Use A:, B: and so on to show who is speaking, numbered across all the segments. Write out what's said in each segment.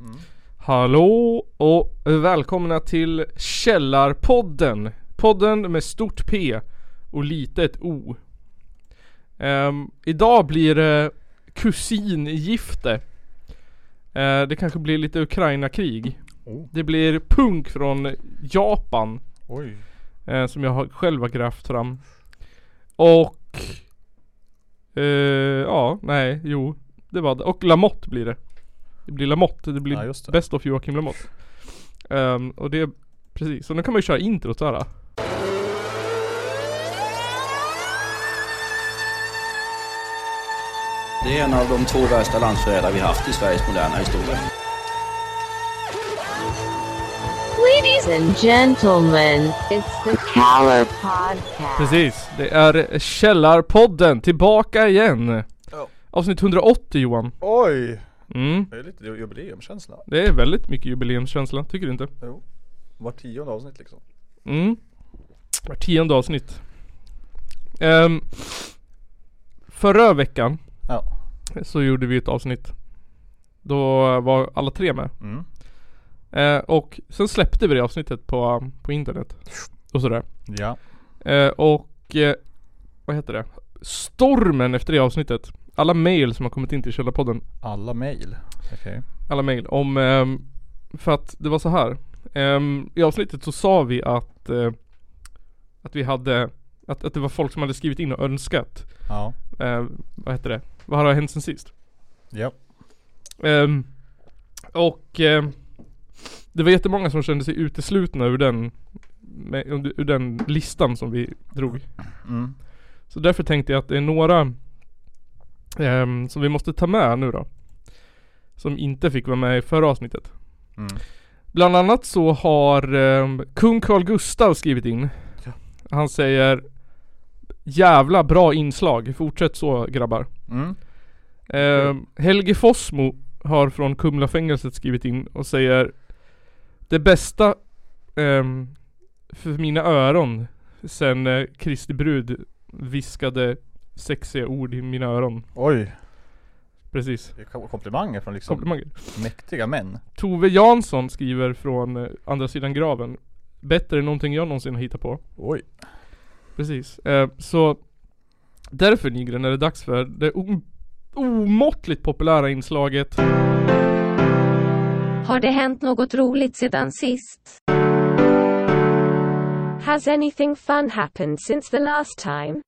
A: Mm.
B: Hallå och välkomna till Källarpodden. Podden med stort P och litet O. Ehm, idag blir det kusingifte. Eh, det kanske blir lite Ukraina-krig.
A: Oh,
B: Det blir punk från Japan.
A: oj.
B: eh, som jag har- själv har grävt fram. Och... Eh, ja, nej, jo. Det var det. Och Lamotte blir det. Det blir Lamotte. Det blir
A: Ja, just det.
B: Best of Joakim Lamotte. Ehm, och det, precis. Så nu kan man ju köra introt så här.
C: Det är en av de två värsta landsförrädare vi haft i Sveriges moderna historia.
D: Ladies and gentlemen, it's the Caller Podcast.
B: Precis. Det är Källarpodden tillbaka igen.
A: Ja.
B: Avsnitt 180 Johan.
A: Oj!
B: Mm.
A: Det är lite jubileumkänsla.
B: Det är väldigt mycket jubileumskänsla, tycker du inte?
A: Jo. Var tionde avsnitt liksom.
B: Mm. Var tionde avsnitt. Ehm, förra veckan
A: Ja.
B: så gjorde vi ett avsnitt. Då var alla tre med.
A: Mm.
B: Eh, och sen släppte vi det avsnittet på, um, på internet. Och sådär.
A: Ja.
B: Eh, och eh, vad heter det? Stormen efter det avsnittet. Alla mail som har kommit in till Källarpodden.
A: Alla mejl. Okej.
B: Alla mail om... ehm, för att det var så här. Ehm, I avsnittet så sa vi att eh, att vi hade att, att det var folk som hade skrivit in och önskat.
A: Ja.
B: Eh, vad heter det? Vad har hänt sen sist?
A: Ja.
B: Ehm, och ehm, det var jättemånga som kände sig uteslutna ur den, med, ur ur den listan som vi drog.
A: Mm.
B: Så därför tänkte jag att det är några ehm, som vi måste ta med nu då. Som inte fick vara med i förra avsnittet.
A: Mm.
B: Bland annat så har ehm, kung Carl Gustav skrivit in.
A: Ja.
B: Han säger Jävla bra inslag, fortsätt så grabbar.
A: Mm.
B: Ehm, Helge Fossmo har från Kumlafängelset skrivit in och säger Det bästa ehm, för mina öron sen eh, Kristi brud viskade sexiga ord i mina öron.
A: Oj.
B: Precis.
A: Det är kom- komplimanger från liksom
B: Komplimanger.
A: mäktiga män.
B: Tove Jansson skriver från eh, andra sidan graven Bättre än någonting jag någonsin har hittat på.
A: Oj.
B: Precis. Eh, så därför Nygren är det dags för det o- omåttligt populära inslaget
E: Har det hänt något roligt sedan sist? Has anything fun happened since the last time?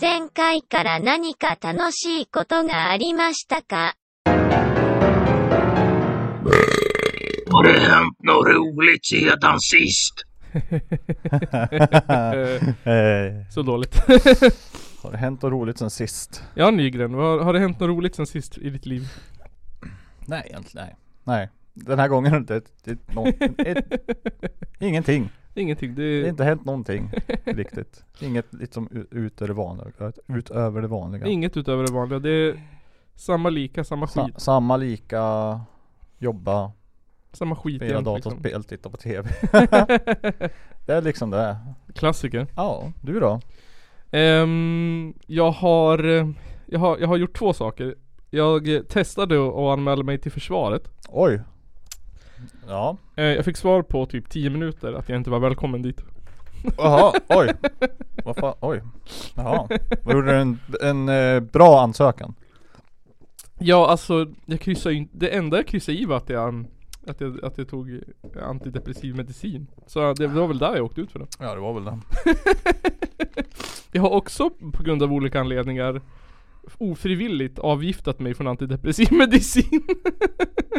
F: 前回から何か楽しいことがありましたか
G: Har det hänt något roligt sedan sist?
B: eh,
A: Eh,
B: Så dåligt.
A: har det hänt något roligt sen sist?
B: Ja Nygren, vad, har det hänt något roligt sen sist i ditt liv?
A: Nej, egentligen nej. Nej. Den här gången har det inte... Det, nå- ett, ingenting.
B: Ingenting, det,
A: Det har
B: är
A: inte hänt någonting riktigt. Inget liksom u- utöver det vanliga. Utöver det vanliga.
B: inget utöver det vanliga. Det är samma lika, samma
A: Sa-
B: skit.
A: samma lika jobba,
B: Samma skit
A: spela
B: igen.
A: datorspel, titta på TV. det är liksom det.
B: Klassiker.
A: Ja, du då?
B: Ehm, jag, har, eh, jag, har, jag har gjort två saker. Jag eh, testade att att anmäla mig till försvaret.
A: Oj. Ja.
B: Eh, jag fick svar på typ 10 minuter att jag inte var välkommen dit.
A: Jaha, oj. Vad fan, oj. Jaha. Vad gjorde du en, en eh, bra ansökan?
B: Ja alltså, jag kryssar ju inte, det enda jag kryssade i var att jag, att jag, att jag tog eh, antidepressiv medicin. Så det var väl där jag åkte ut för det.
A: Ja det var väl det.
B: Jag har också på grund av olika anledningar ofrivilligt avgiftat mig från antidepressiv medicin.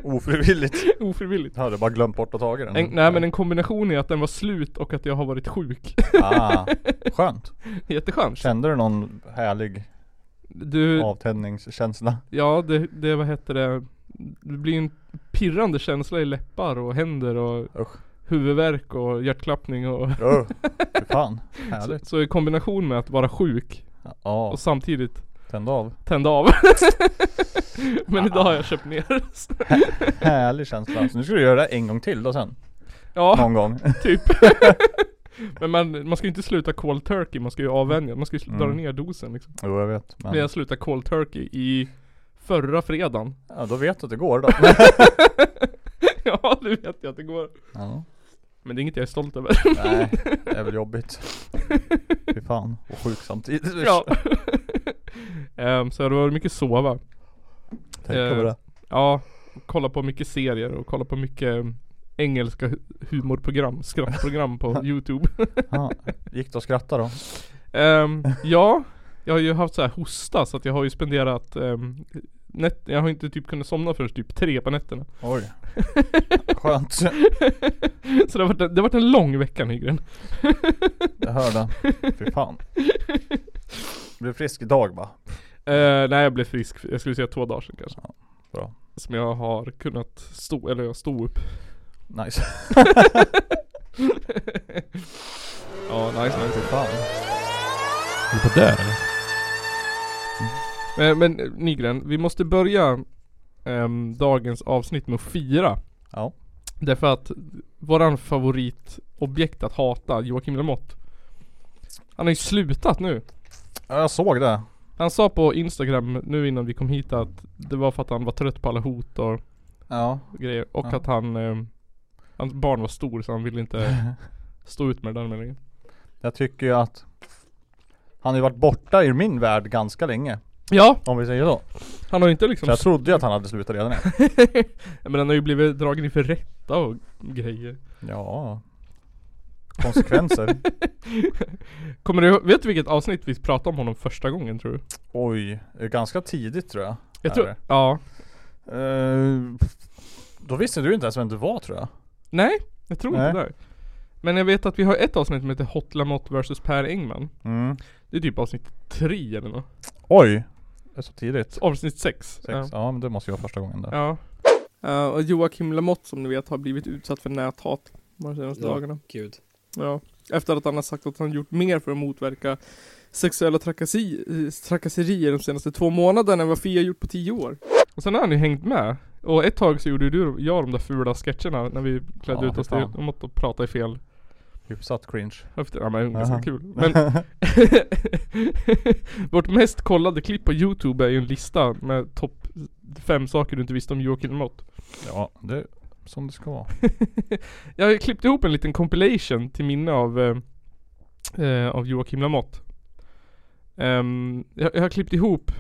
A: Ofrivilligt.
B: ofrivilligt.
A: Jag hade bara glömt bort att ta den.
B: En, nej men en kombination är att den var slut och att jag har varit sjuk.
A: Ah, skönt.
B: Jätteskönt.
A: Kände du någon härlig
B: Du,
A: avtändningskänsla?
B: ja det, det vad heter det? Det blir en pirrande känsla i läppar och händer och
A: Usch.
B: huvudvärk och hjärtklappning och
A: Oh, fan.
B: så,
A: Härligt.
B: så i kombination med att vara sjuk
A: Ja,
B: och samtidigt
A: tänd av.
B: tända av. men idag har jag köpt ner.
A: Härlig känsla. Så nu ska du göra det en gång till då sen.
B: ja.
A: Någon gång.
B: Typ. Men man, man ska ju inte sluta cold turkey, man ska ju avvänja, man ska ju sl- dra
A: Mm.
B: ner dosen liksom.
A: Jo jag vet. Men...
B: Men jag slutade cold turkey i förra fredagen.
A: Ja då vet du att det går då.
B: ja, det vet jag att det går.
A: ja.
B: Men det är inget jag är stolt över.
A: Nej, det är väl jobbigt. Fy fan, och sjuk samtidigt.
B: ja. Ehm, så det var mycket sova.
A: Tänk på
B: Eh,
A: det.
B: Ja, kolla på mycket serier och kolla på mycket eh, engelska hu- humorprogram, skrattprogram på youtube.
A: Ja. Gick det att skratta då?
B: Ehm, ja, jag har ju haft så här hosta så att jag har ju spenderat ehm, nät- Jag har inte typ kunnat somna förrän typ tre på nätterna.
A: Oj. Skönt.
B: Så det har varit en, det har varit en lång vecka Nygren.
A: Jag hörde. Fy fan. Blev frisk idag va?
B: Eh, nej jag blev frisk, jag skulle säga två dagar sedan kanske.
A: bra.
B: Som jag har kunnat stå, eller jag stod upp.
A: Nice.
B: Ja, nice nice.
A: Fy fan.
H: Är du på där eller?
B: Eh, men eh, Nygren, vi måste börja ehm, dagens avsnitt med att fira.
A: Ja.
B: Därför att våran favoritobjekt att hata, Joakim Lamotte. Han har ju slutat nu.
A: Ja, jag såg det.
B: Han sa på Instagram nu innan vi kom hit att det var för att han var trött på alla hot och
A: Ja.
B: grejer. Och
A: Ja.
B: att han, ehm, hans barn var stor så han ville inte stå ut med det där med längre.
A: Jag tycker ju att han har ju varit borta ur min värld ganska länge.
B: Ja,
A: Om vi säger så.
B: han har ju inte liksom
A: Så jag trodde ju att han hade slutat redan.
B: Men han har ju blivit dragen inför rätta och grejer.
A: Ja. Konsekvenser.
B: Kommer du ihåg- vet du vilket avsnitt vi pratade om honom första gången tror du?
A: Oj. eh, Ganska tidigt tror jag.
B: Jag
A: Är
B: tror,
A: det?
B: ja.
A: Eh, då visste du inte ens vem du var tror jag.
B: Nej, jag tror
A: Nej.
B: inte det. Men jag vet att vi har ett avsnitt som heter Hot Lamotte vs Per Engman.
A: Mm.
B: Det är typ avsnitt 3 eller något.
A: Oj. Det är så tidigt.
B: Avsnitt 6.
A: Sex. Ja. men det måste ju vara första gången där.
B: Ja. Eh, och Joakim Lamotte som ni vet har blivit utsatt för näthat de senaste
I: Ja.
B: dagarna.
I: Gud.
B: Ja. Efter att han har sagt att han gjort mer för att motverka sexuella trakassi- eh, trakasserier de senaste två månaderna än vad Fia gjort på tio år. Och sen har han ju hängt med. Och ett tag så gjorde ju du, jag de där fula sketcherna när vi klädde
A: Ja,
B: ut
A: för
B: oss
A: fan.
B: till om att prata i fel
A: Hyfsat cringe.
B: höfter. Ja men ganska
A: Aha.
B: kul. Men vårt mest kollade klipp på youtube är ju en lista med topp fem saker du inte visste om Joakim Lamotte.
A: ja, det är som det ska vara.
B: Jag har ju klippt ihop en liten compilation till minne av, eh, eh, av Joakim Lamotte. Ehm, jag, jag har klippt ihop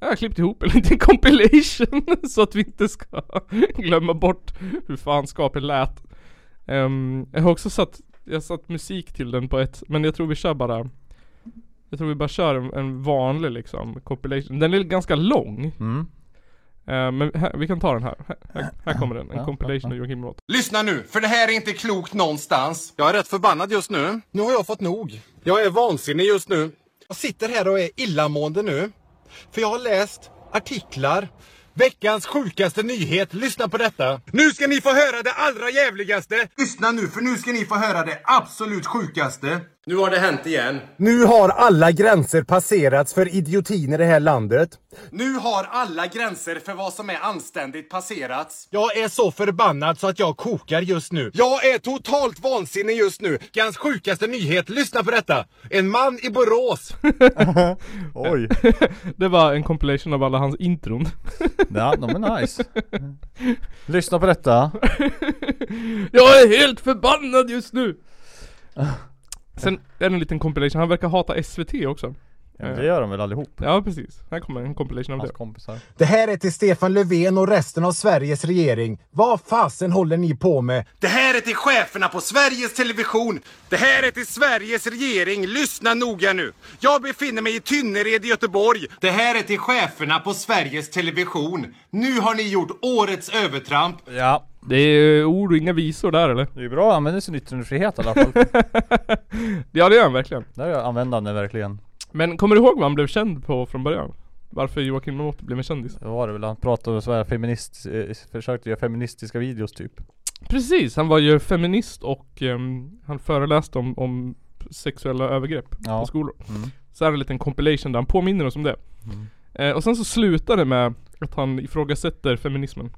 B: jag har klippt ihop en liten compilation så att vi inte ska glömma bort hur fanskapet lät. Ehm, jag har också satt, jag har satt musik till den på ett, men jag tror vi kör bara Jag tror vi bara kör en, en vanlig liksom compilation. Den är ganska lång.
A: Mm.
B: eh, men här, vi kan ta den här. Här, här, här kommer den, en
A: ja, ja.
B: compilation av Joakim Lamotte.
J: Lyssna nu, för det här är inte klokt någonstans. Jag är rätt förbannad just nu. Nu har jag fått nog. Jag är vansinnig just nu. Jag sitter här och är illamående nu. För jag har läst artiklar. Veckans sjukaste nyhet. Lyssna på detta. Nu ska ni få höra det allra jävligaste. Lyssna nu, för nu ska ni få höra det absolut sjukaste. Nu har det hänt igen.
I: Nu har alla gränser passerats för idiotin i det här landet.
J: Nu har alla gränser för vad som är anständigt passerats. Jag är så förbannad så att jag kokar just nu. Jag är totalt vansinnig just nu. Gans sjukaste nyhet, lyssna på detta. En man i Borås.
A: Oj.
B: Det var en compilation av alla hans intron.
A: ja, de är nice. Lyssna på detta.
B: Jag är helt förbannad just nu! Sen är det en liten compilation, han verkar hata SVT också.
A: Ja, men det gör de väl allihop?
B: Ja precis, här kommer en compilation av
A: Hans
B: det.
A: kompisar.
I: Det här är till Stefan Löfven och resten av Sveriges regering. Vad fasen håller ni på med?
J: Det här är till cheferna på Sveriges Television. Det här är till Sveriges regering. Lyssna noga nu. Jag befinner mig i Tynnered i Göteborg. Det här är till cheferna på Sveriges Television. Nu har ni gjort årets övertramp.
A: Ja.
B: Det är ord och inga visor där eller?
A: Det är bra att använda sin yttrandefrihet i alla fall.
B: Ja det gör han verkligen.
A: Där är användande verkligen.
B: Men kommer du ihåg vad han blev känd på från början? Varför Joakim Lamotte blev en kändis?
A: Det var det väl, han pratade om så här feminist, eh, försökte göra feministiska videos typ.
B: Precis, han var ju feminist och ehm, han föreläste om, om sexuella övergrepp på
A: Ja.
B: skolor. Så här är en liten compilation där han påminner oss om det. Eh, och sen så slutar det med att han ifrågasätter feminismen.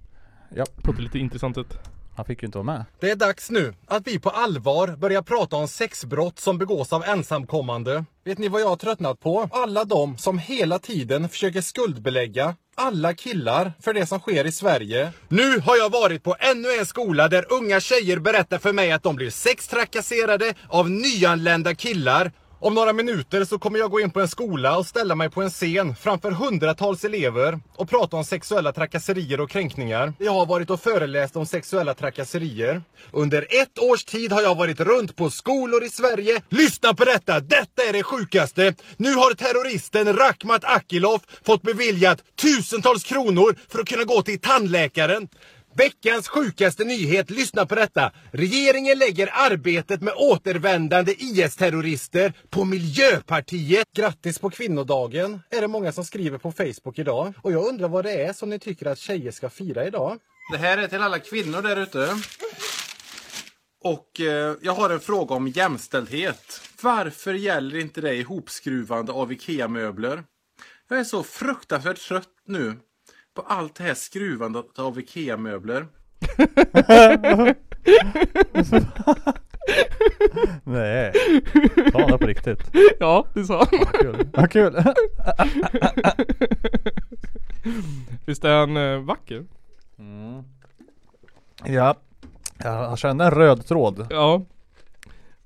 A: Ja.
B: På ett lite intressant sätt.
A: Han fick ju inte vara med.
J: Det är dags nu att vi på allvar börjar prata om sexbrott som begås av ensamkommande. Vet ni vad jag har tröttnat på? Alla de som hela tiden försöker skuldbelägga alla killar för det som sker i Sverige. Nu har jag varit på ännu en skola där unga tjejer berättar för mig att de blir sextrakasserade av nyanlända killar. Om några minuter så kommer jag gå in på en skola och ställa mig på en scen framför hundratals elever och prata om sexuella trakasserier och kränkningar. Jag har varit och föreläst om sexuella trakasserier. Under ett års tid har jag varit runt på skolor i Sverige. Lyssna på detta! Detta är det sjukaste! Nu har terroristen Rakhmat Akilov fått beviljat tusentals kronor för att kunna gå till tandläkaren. Veckans sjukaste nyhet, lyssna på detta! Regeringen lägger arbetet med återvändande IS-terrorister på Miljöpartiet! Grattis på kvinnodagen, är det många som skriver på Facebook idag. Och jag undrar vad det är som ni tycker att tjejer ska fira idag? Det här är till alla kvinnor där ute. Och eh, jag har en fråga om jämställdhet. Varför gäller inte det ihopskruvande av IKEA-möbler? Jag är så fruktansvärt trött nu på allt det här skruvandet av IKEA-möbler.
A: Nej. Ta honom på riktigt.
B: Ja, det sa han.
A: Kul. Vad kul.
B: Visst är han eh, vacker?
A: ja. Jag kände en röd tråd.
B: Ja.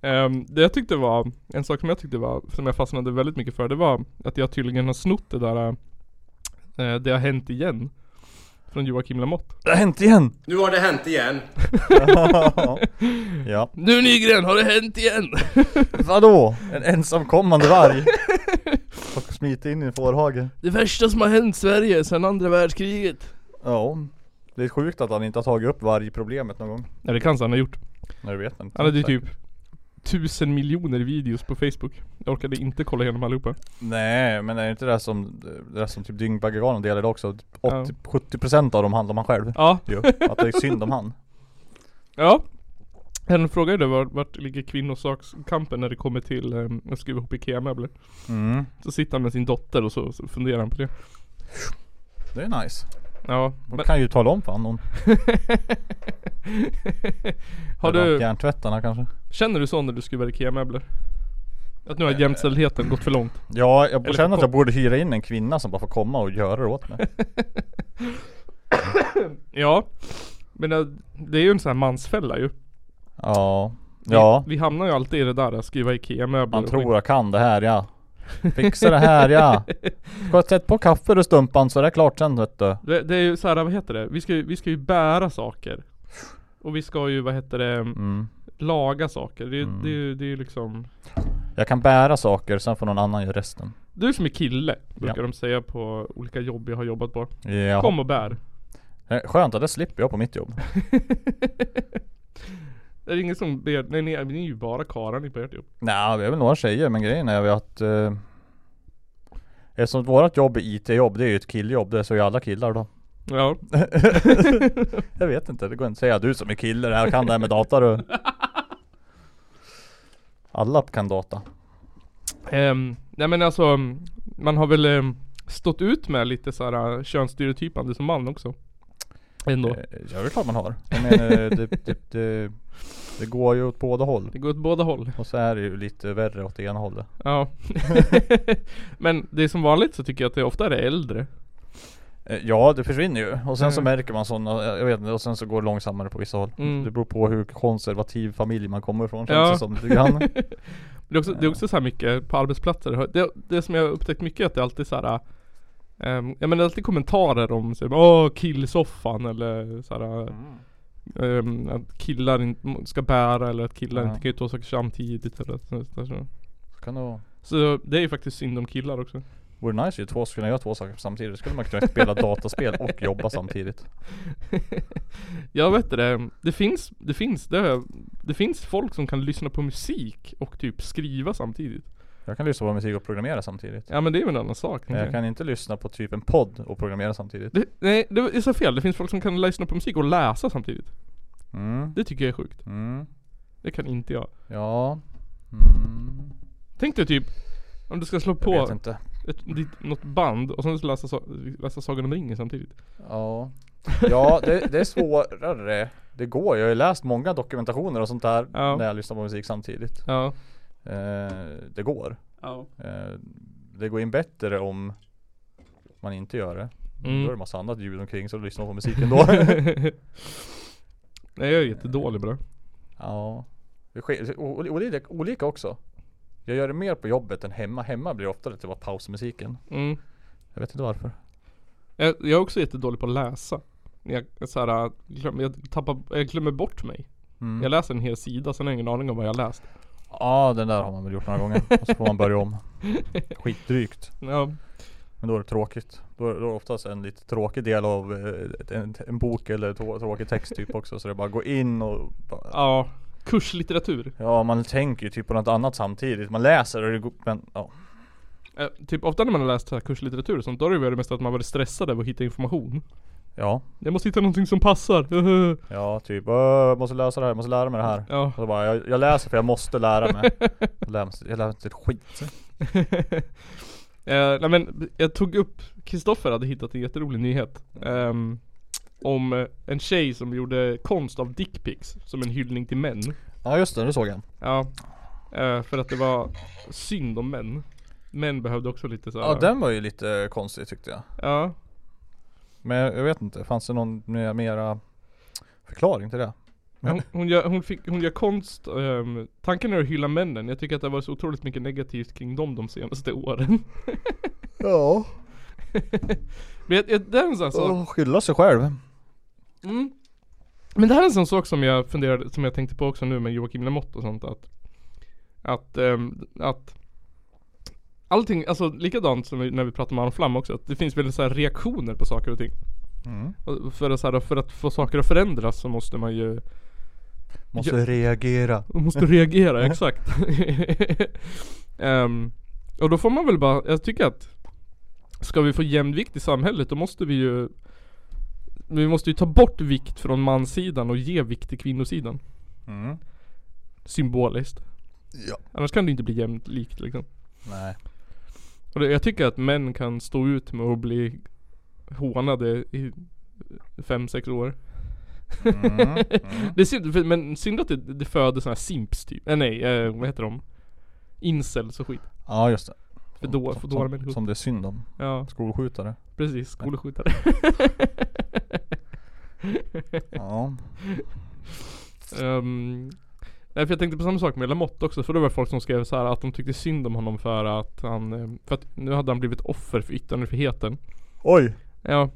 B: Ehm, det jag tyckte var, en sak som jag tyckte var, som jag fastnade väldigt mycket för, det var att jag tydligen har snott det där, eh, det har hänt igen. Från Joakim Lamotte.
A: Det har hänt igen!
J: Nu har det hänt igen.
A: ja.
B: Nu Nygren, har det hänt igen?
A: Vadå? En ensamkommande varg? Och smit in i en fårhage?
B: Det värsta som har hänt Sverige sedan andra världskriget.
A: Ja. Det är sjukt att han inte har tagit upp vargproblemet någon gång.
B: Nej det kanske han har gjort.
A: Nej det vet man inte.
B: Han hade ju typ tusen miljoner videos på Facebook. Jag orkade inte kolla igenom allihopa.
A: Nej men är det inte det där som, det där som typ Dyngbaggegalan delade också? Typ 80, 70% av dem handlar om han själv.
B: Ja.
A: Jo. Att det är synd om han.
B: Ja. En fråga är då vart, vart ligger kvinnosakskampen när det kommer till um, att skruva ihop IKEA-möbler?
A: Mm.
B: Så sitter han med sin dotter och så, så funderar han på det.
A: Det är nice.
B: Ja.
A: Man
B: Men,
A: kan ju tala om för honom.
B: har du,
A: Järntvättarna kanske?
B: känner du så när du skruvar IKEA-möbler? Att nu har jämställdheten gått för långt?
A: Ja, jag
B: Eller
A: känner att
B: kom-
A: jag borde hyra in en kvinna som bara får komma och göra det åt mig.
B: Ja. Men eh, det är ju en sån här mansfälla ju.
A: Ja.
B: Vi,
A: Ja.
B: Vi hamnar ju alltid i det där att skriva IKEA-möbler.
A: Man tror jag kan det här ja. Fixa det här ja. Ska jag sätta på kaffe och stumpan så är det klart sen vet du.
B: Det, det är ju så här, vad heter det? Vi ska, ju- vi ska ju bära saker. Och vi ska ju, vad heter det,
A: Mm.
B: laga saker. Det, är- det, är ju- det är ju liksom
A: Jag kan bära saker, sen får någon annan göra resten.
B: Du som är kille, brukar
A: Ja.
B: de säga på olika jobb jag har jobbat på.
A: Ja.
B: Kom och bär.
A: Eh, Skönt att det slipper jag på mitt jobb.
B: Det är ingen som ber, nej ni, ni är ju bara karlar ni på ert jobb.
A: Nej, vi är väl några tjejer men grejen är väl att eh, Eftersom vårat jobb är IT-jobb, det är ju ett killjobb, det är så ju alla killar då.
B: Ja.
A: Jag vet inte, det går inte att säga du som är kille, det här kan det här med data du. Alla kan data.
B: Ehm, nej men alltså, mm, man har väl ehm, stått ut med lite så här äh, könsstereotypande som man också. Ändå.
A: Eh, Ja det är klart man har. Jag menar, det, det, det, det går ju åt båda håll.
B: Det går åt båda håll.
A: Och så är det ju lite värre åt det ena hållet.
B: Ja. men det är som vanligt så tycker jag att det ofta är det äldre.
A: Eh, Ja det försvinner ju. Och sen så märker man sådana, jag vet inte, och sen så går det långsammare på vissa håll.
B: Mm.
A: Det beror på hur konservativ familj man kommer ifrån
B: Ja.
A: känns det som lite grann.
B: Det är också, det är också så här mycket på arbetsplatser. Det, det som jag har upptäckt mycket är att det alltid så här. ehm, ja men det är alltid kommentarer om så här, Åh killsoffan eller så här,
A: Mm.
B: ehm, Att killar inte ska bära eller att killar
A: Ja.
B: inte kan ju ta saker samtidigt eller så, så, så.
A: Så kan det vara.
B: så det är ju faktiskt synd om killar också.
A: Vore nice ju, två skulle kunna göra två saker samtidigt. Då skulle man kunna spela dataspel och jobba samtidigt.
B: Jag vet det, det finns, det finns, det, har jag- det finns folk som kan lyssna på musik och typ skriva samtidigt.
A: Jag kan lyssna på musik och programmera samtidigt.
B: Ja men det är väl en annan sak.
A: Men
B: tänker
A: jag kan inte lyssna på typ en podd och programmera samtidigt.
B: Det, nej, det är så fel. Det finns folk som kan lyssna på musik och läsa samtidigt.
A: Mm.
B: Det tycker jag är sjukt.
A: Mm.
B: Det kan inte jag.
A: Ja. Mm.
B: Tänk dig typ om du ska slå
A: Jag vet
B: på
A: inte.
B: ett, ditt, något band och sen så läsa, sa- läsa Sagan om ringen samtidigt.
A: Ja. Ja, det, det är svårare. det går. Jag har ju läst många dokumentationer och sånt där
B: Ja.
A: när jag lyssnar på musik samtidigt.
B: Ja.
A: Eh, det går.
K: Ja.
A: Eh, det går in bättre om man inte gör det.
B: Mm.
A: Då är det massa annat ljud omkring så du lyssnar på musiken då.
B: Nej jag är jättedålig på det.
A: ja. Det sker, o- o- olika, olika också. Jag gör det mer på jobbet än hemma. Hemma blir det ofta lite bara pausmusiken.
B: Mm.
A: Jag vet inte varför.
B: Jag, jag är också jättedålig på att läsa. Jag, jag så här, äh, glöm, jag, tappar, jag glömmer bort mig.
A: Mm.
B: Jag läser en hel sida, sen har jag ingen aning om vad jag läst.
A: Ja den där har man väl gjort några gånger. Och så får man börja om. Skitdrygt.
B: Ja.
A: Men då är det tråkigt. Då är, då är det oftast en lite tråkig del av eh, en, en bok eller trå, tråkig text typ också. Så det är bara att gå in och bara,
B: ja, kurslitteratur.
A: Ja man tänker ju typ på något annat samtidigt. Man läser och det går, men ja.
B: Eh, typ ofta när man har läst så här kurslitteratur och sånt, då är det ju det mesta att man varit stressad över att hitta information.
A: Ja,
B: Jag måste hitta någonting som passar.
A: ja typ "Åh, måste lösa det här, måste lära mig det här.
B: ja.
A: Och så bara, jag, jag läser för jag måste lära mig. Jag lär mig, jag lär mig inte ett skit.
B: Eh, nej men jag tog upp, Kristoffer hade hittat en jätterolig nyhet. ehm, om eh, en tjej som gjorde konst av dickpics som en hyllning till män.
A: Ja just det, det såg jag.
B: Ja. Eh, för att det var synd om män. Män behövde också lite så här.
A: Ja den var ju lite konstig tyckte jag.
B: Ja.
A: Men jag, jag vet inte, fanns det någon mer- mera förklaring till det?
B: Men Hon, hon, gör, hon, fick, hon gör konst, ehm, tanken är att hylla männen. Jag tycker att det har varit så otroligt mycket negativt kring dem de senaste åren.
A: Ja.
B: Men jag, jag, det är en sån här sak.
A: Så skylla sig själv.
B: Mm. Men det här är en sån sak som jag funderade, som jag tänkte på också nu med Joakim Lamotte och sånt att Att, ehm, att Allting, alltså likadant som vi, när vi pratar om Aron Flam också, att det finns väl så här reaktioner på saker och ting.
A: Mm.
B: Och För, att så här, för att få saker att förändras så måste man ju
A: Måste reagera.
B: man måste reagera, exakt. Ehm, och då får man väl bara, jag tycker att Ska vi få jämn vikt i samhället då måste vi ju Vi måste ju ta bort vikt från manssidan och ge vikt till kvinnosidan
A: Mm.
B: Symboliskt
A: Ja.
B: Annars kan det inte bli jämnt likt liksom
A: Nej.
B: Och det, jag tycker att män kan stå ut med att bli hånade i 5-6 år
A: Mm. Mm.
B: Det är synd, för- men synd att det, det föder såna här simps typ, äh, nej eh, vad heter de? Incels och skit
A: Ja just det.
B: För då,
A: Som-
B: för
A: som-
B: dåliga människor
A: Som det är synd om.
B: Ja,
A: Skolskjutare.
B: precis, skolskjutare
A: Ja.
B: um, Nej för jag tänkte på samma sak med Lamotte också, för det var folk som skrev så här att de tyckte synd om honom för att han eh, För att nu hade han blivit offer för yttrandefriheten
A: Oj.
B: Ja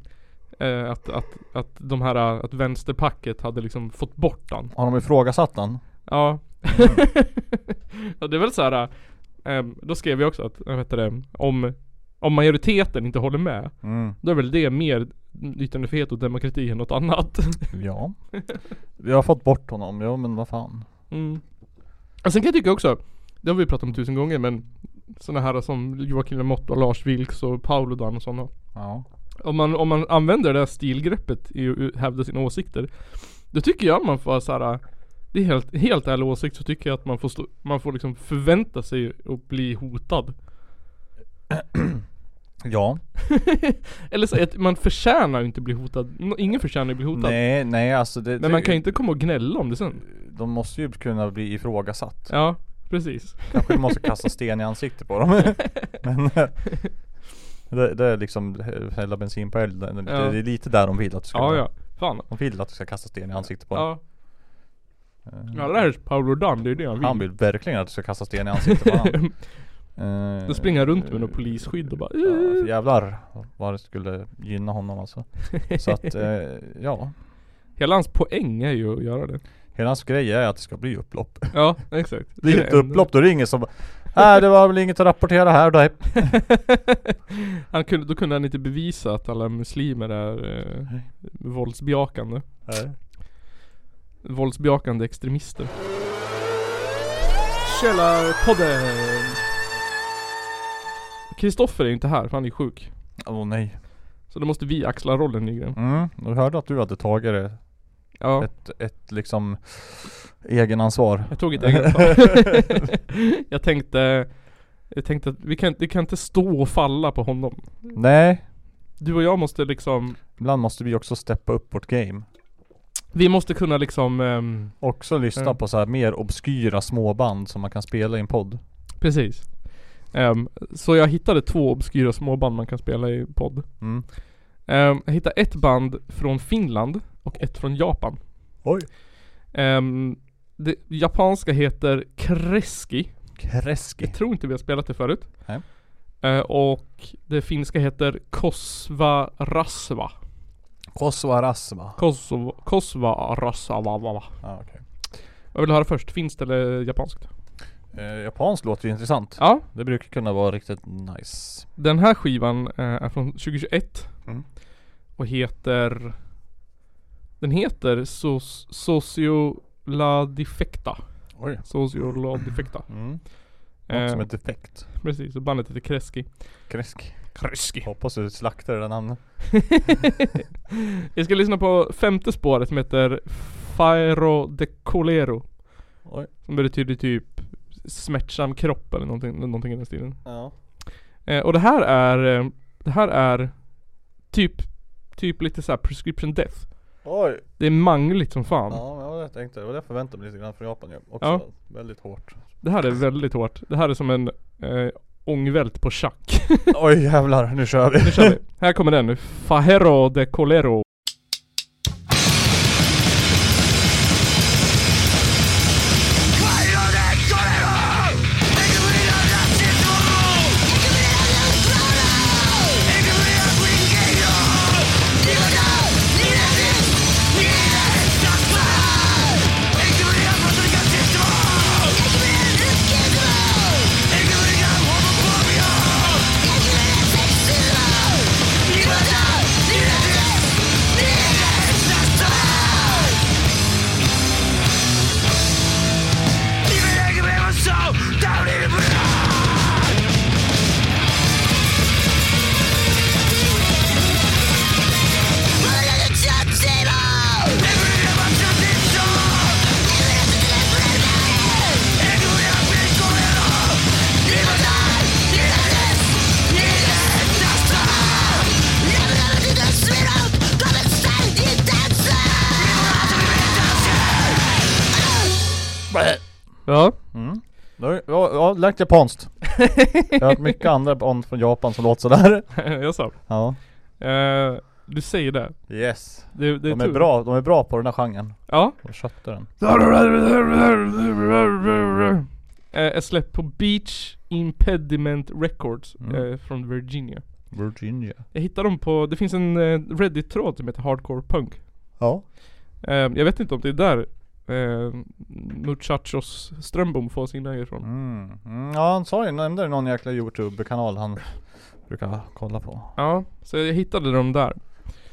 B: eh, att, att, att de här, eh, att vänsterpacket hade liksom fått bort han
A: Har de ifrågasatt den?
B: Ja Ja det är väl såhär ehm, Då skrev jag också att, vad heter det, om Om majoriteten inte håller med
A: Mm.
B: Då är väl det mer yttrandefrihet och demokrati än något annat
A: Ja. Vi har fått bort honom. Ja men vad fan.
B: mm. Och Sen kan jag tycka också Det har vi pratat om tusen gånger men Såna här som Joakim Lamotte och Lars Vilks och Pauludan och sådana
A: Ja.
B: om man, om man använder det här stilgreppet i att hävda sina åsikter Då tycker jag man får såhär Det är helt, helt ärlig åsikt så tycker jag att man får, stå, man får liksom förvänta sig att bli hotad
A: Ja.
B: Eller så att man förtjänar ju inte bli hotad Nå- Ingen förtjänar ju bli hotad
A: Nej, nej alltså det,
B: Men man kan ju inte komma och gnälla om det sen
A: De måste ju kunna bli ifrågasatt.
B: Ja, precis
A: Kanske du måste kasta sten i ansiktet på dem. Men eh, det, det är liksom hälla bensin på elden. Det,
B: Ja.
A: det är lite där de vill att du ska
B: Ja ja, fan
A: De vill att du ska kasta sten i ansiktet på dem.
B: Ja Ja det här är Paolo Dan, det är det han vill
A: Han vill verkligen att du ska kasta sten i ansiktet på honom. Eh,
B: Då springer han runt med något polisskydd och bara
A: Ja, för jävlar vad det skulle gynna honom alltså. Så att eh, ja,
B: "Äh." Hela hans poäng är ju att göra det
A: hela hans grej är att det ska bli upplopp.
B: Ja, exakt
A: Blir det
B: är
A: inte
B: enda.
A: upplopp då är det ingen som bara, Nej det var väl inget att rapportera här då.
B: han kunde, då kunde han inte bevisa att alla muslimer är eh, våldsbejakande. Våldsbejakande extremister. Källarpodden! Kristoffer är inte här för han är sjuk.
A: Åh nej.
B: Så då måste vi axla rollen Nygren.
A: Mm, du hörde att du hade tagit det.
B: Ja,
A: Ett, ett liksom egenansvar.
B: jag tog ett eget fall. Jag tänkte jag tänkte att vi kan, det kan inte stå och falla på honom.
A: Nej,
B: Du och jag måste liksom
A: ibland måste vi också steppa upp vårt game.
B: Vi måste kunna liksom ehm,
A: Också lyssna
B: Mm.
A: på så här mer obskyra småband som man kan spela i en podd.
B: Precis. Ehm, så jag hittade två obskyra småband man kan spela i podd.
A: Mm.
B: Ehm, jag hittade ett band från Finland och ett från Japan.
A: Oj.
B: Ehm, det japanska heter Kreski.
A: Kreski.
B: Jag tror inte vi har spelat det förut.
A: Nej.
B: Eh, och det finska heter Kosva Rasva.
A: Kosova Rasma.
B: Kosva, Kosva Rasva.
A: Ah, okej.
B: Jag vill höra först, finskt eller japanskt?
A: eh, japanskt låter ju intressant.
B: Ja,
A: Det brukar kunna vara riktigt nice.
B: Den här skivan eh, är från 2021
A: Mm.
B: och heter Den heter Sos- Socio La Defecta.
A: Oj.
B: Socio La Defecta.
A: Mm. Något som
B: Eh,
A: är defekt.
B: precis, och bandet heter Kreski.
A: Kresk.
B: Kreski.
A: Hoppas du slaktar det där namnet.
B: Jag ska lyssna på femte spåret som heter Fairo de Colero.
A: Oj.
B: Som betyder typ smärtsam kropp eller någonting, någonting i den stilen.
A: Ja.
B: Eh, och det här är, eh, det här är typ, typ lite så här prescription death.
A: Oj.
B: Det är mangligt som fan.
A: Ja, men jag tänkte, det var det jag förväntade mig lite grann från Japan ju. Också
B: Ja.
A: väldigt hårt.
B: Det här är väldigt hårt. Det här är som en eh, ångvält på schack.
A: Oj jävlar, nu kör vi.
B: Nu kör vi. Här kommer den. Fajero de Colero. Ja.
A: Nu, ja, ja, lagt japanskt. Jag har hört mycket andra band från Japan som låter sådär.
B: jag sa.
A: Ja.
B: Eh, du säger det.
A: Yes.
B: det, det
A: De är bra, de är bra på den här genren.
B: Ja.
A: De köpte den.
B: Eh, är släppt på Beach Impediment Records
A: Mm.
B: eh, från Virginia.
A: Virginia.
B: Jag hittade dem på, det finns en eh, Reddit-tråd som heter Hardcore Punk.
A: Ja.
B: Eh, jag vet inte om det är där eh, Muchachos Strömbom får sina ifrån.
A: Mm. Mm, ja han sa ju, nämnde någon jäkla Youtube-kanal han brukar kolla på.
B: Ja, så jag hittade dem där.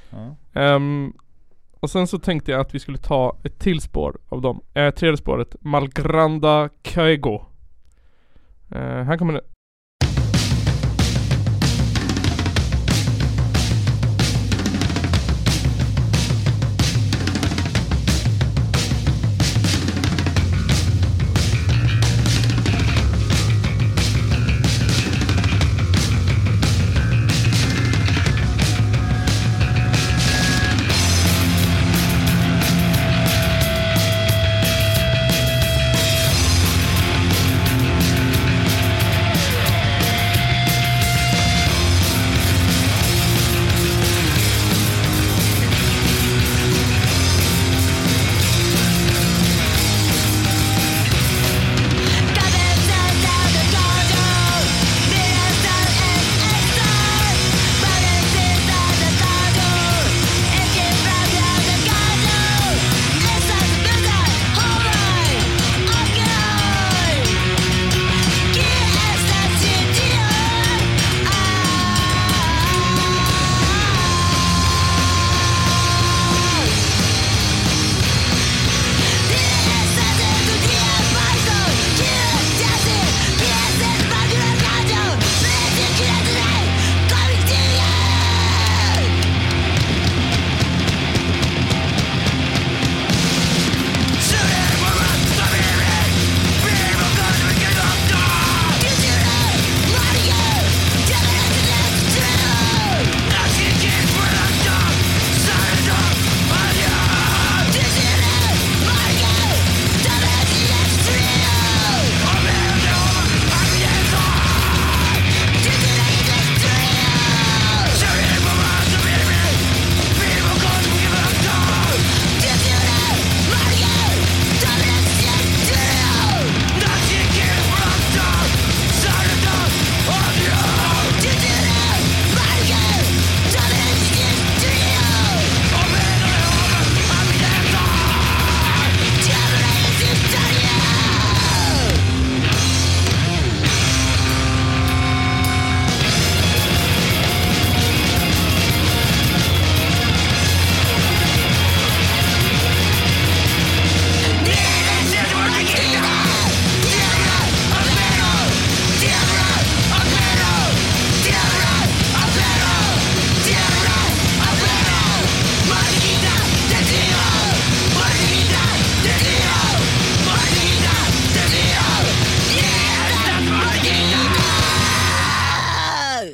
A: Ja.
B: Ehm, och sen så tänkte jag att vi skulle ta ett till spår av dem. Eh, tredje spåret, Malgranda Kaigo. Eh, här kommer det.
A: Oj.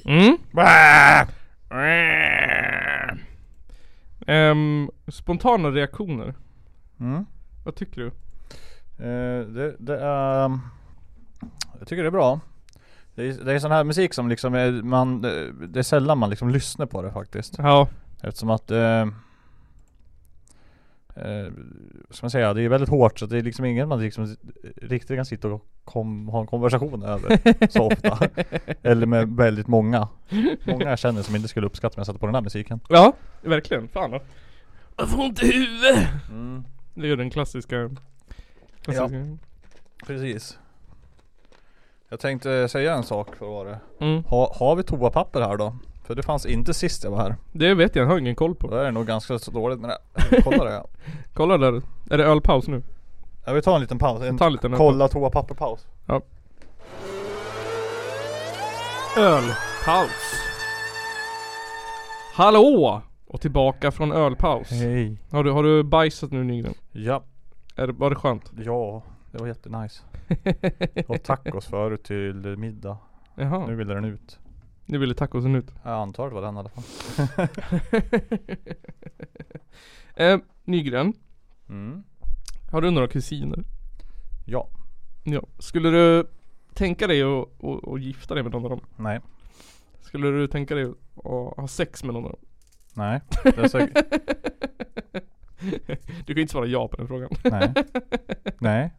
B: Mm? Ehm, spontana reaktioner.
A: Mm.
B: Vad tycker du?
A: Eh, det, det är... Jag tycker det är bra. Det är, det är sån här musik som liksom är, man, det det är sällan man liksom lyssnar på det faktiskt.
B: Ja.
A: Eftersom att... Eh, eh, ska man säga, det är väldigt hårt så det är liksom ingen man liksom riktigt kan sitta och kom, ha en konversation över så ofta. Eller med väldigt många. Många jag känner som inte skulle uppskatta om jag satte på den här musiken.
B: Ja, verkligen. Fan då. Jag får ont i huvudet.
A: Mm.
B: Det är ju den klassiska... klassiska.
A: Precis. Jag tänkte säga en sak för vad det
B: Mm.
A: ha, Har vi toapapper här då? För det fanns inte sist jag var här.
B: Det vet jag, jag har ingen koll
A: Då
B: på.
A: är det nog ganska så dåligt med det. Kolla det.
B: Kolla där. Är det ölpaus nu?
A: Jag vill ta en liten paus. En,
B: Ta en liten öl-
A: kolla toapapper-paus.
B: Ölpaus. Hallå! Och tillbaka från ölpaus.
A: Hej.
B: Har du, har du bajsat nu Nygren?
A: Ja,
B: Är det, var det skönt?
A: ja. Det var jättenice. Och tacos förut till middag. Nu
B: Jaha,
A: ville den ut.
B: nu ville tacosen ut.
A: Jag antar det var den i alla fall.
B: eh, Nygren,
A: Mm.
B: har du några kusiner?
A: Ja.
B: Ja. Skulle du tänka dig att att- att gifta dig med någon av dem?
A: Nej.
B: Skulle du tänka dig att ha sex med någon av dem?
A: Nej. Det är säkert.
B: Du kan ju inte svara ja på den frågan.
A: Nej. Nej.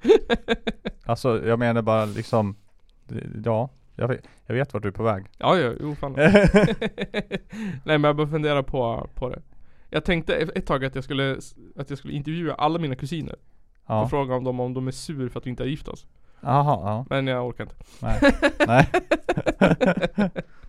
A: Alltså jag menar bara liksom. det- Ja. Jag vet, jag vet vart du är på väg.
B: Ja, ja, jo fan. Nej men jag bara funderar på, på det. Jag tänkte ett tag att jag skulle, att jag skulle intervjua alla mina kusiner och
A: Ja.
B: fråga om dem om de är sur för att vi inte har gift oss.
A: Jaha. Ja.
B: Men jag orkar inte.
A: Nej. Nej.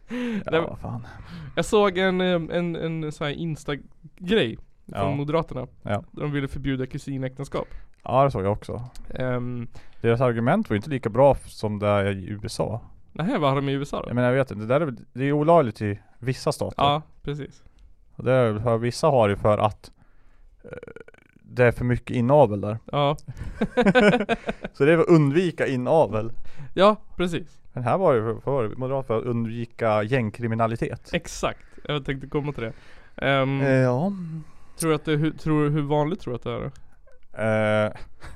B: Nej,
A: ja, vad fan.
B: Jag såg en, eh, en, en sån här Insta-grej från
A: Ja.
B: Moderaterna.
A: Ja.
B: Där de ville förbjuda kusinäktenskap.
A: Ja det såg jag också.
B: Um,
A: Deras argument var ju inte lika bra f- som det är i USA.
B: nej, vad har de i USA då?
A: Jag menar jag vet inte, det där är, väl- det är olagligt i vissa stater.
B: Ja, precis.
A: Och det är, väl för, vissa har det för att eh, det är för mycket inavel där.
B: Ja,
A: Så det är för att undvika inavel.
B: ja precis.
A: Men här var det för, för, moderat för att undvika gängkriminalitet.
B: Exakt. Jag tänkte komma till det. Ehm,
A: Eh, ja.
B: tror du att det, hur, tror, hur vanligt tror du att det är? då?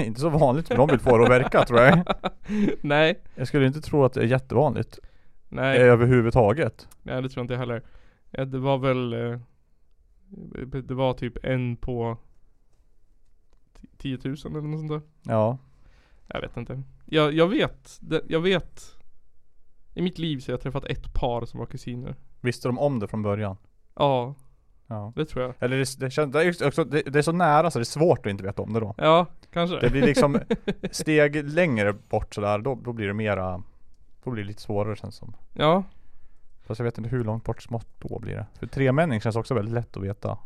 A: Eh, inte så vanligt men de vill få det att verka tror jag.
B: nej,
A: Jag skulle inte tro att det är jättevanligt. eh,
B: nej.
A: Överhuvudtaget.
B: Nej det tror jag inte heller. Ja, det var väl eh, Det var typ en på ti- 10 000 eller något sånt där.
A: Ja.
B: Jag vet inte. Jag, jag vet. Det, jag vet. I mitt liv så har jag träffat ett par som var kusiner.
A: Visste de om det från början? Ja.
B: Ja,
A: Ja.
B: det tror jag.
A: Eller det, det, känns, det, är just också, det, det är så nära så det är svårt att inte veta om det då.
B: Ja, kanske.
A: Det blir liksom steg längre bort sådär, då, då blir det mera Då blir det lite svårare känns som.
B: Ja.
A: Fast jag vet inte hur långt bort smått då blir det. För tremänning känns också väldigt lätt att veta.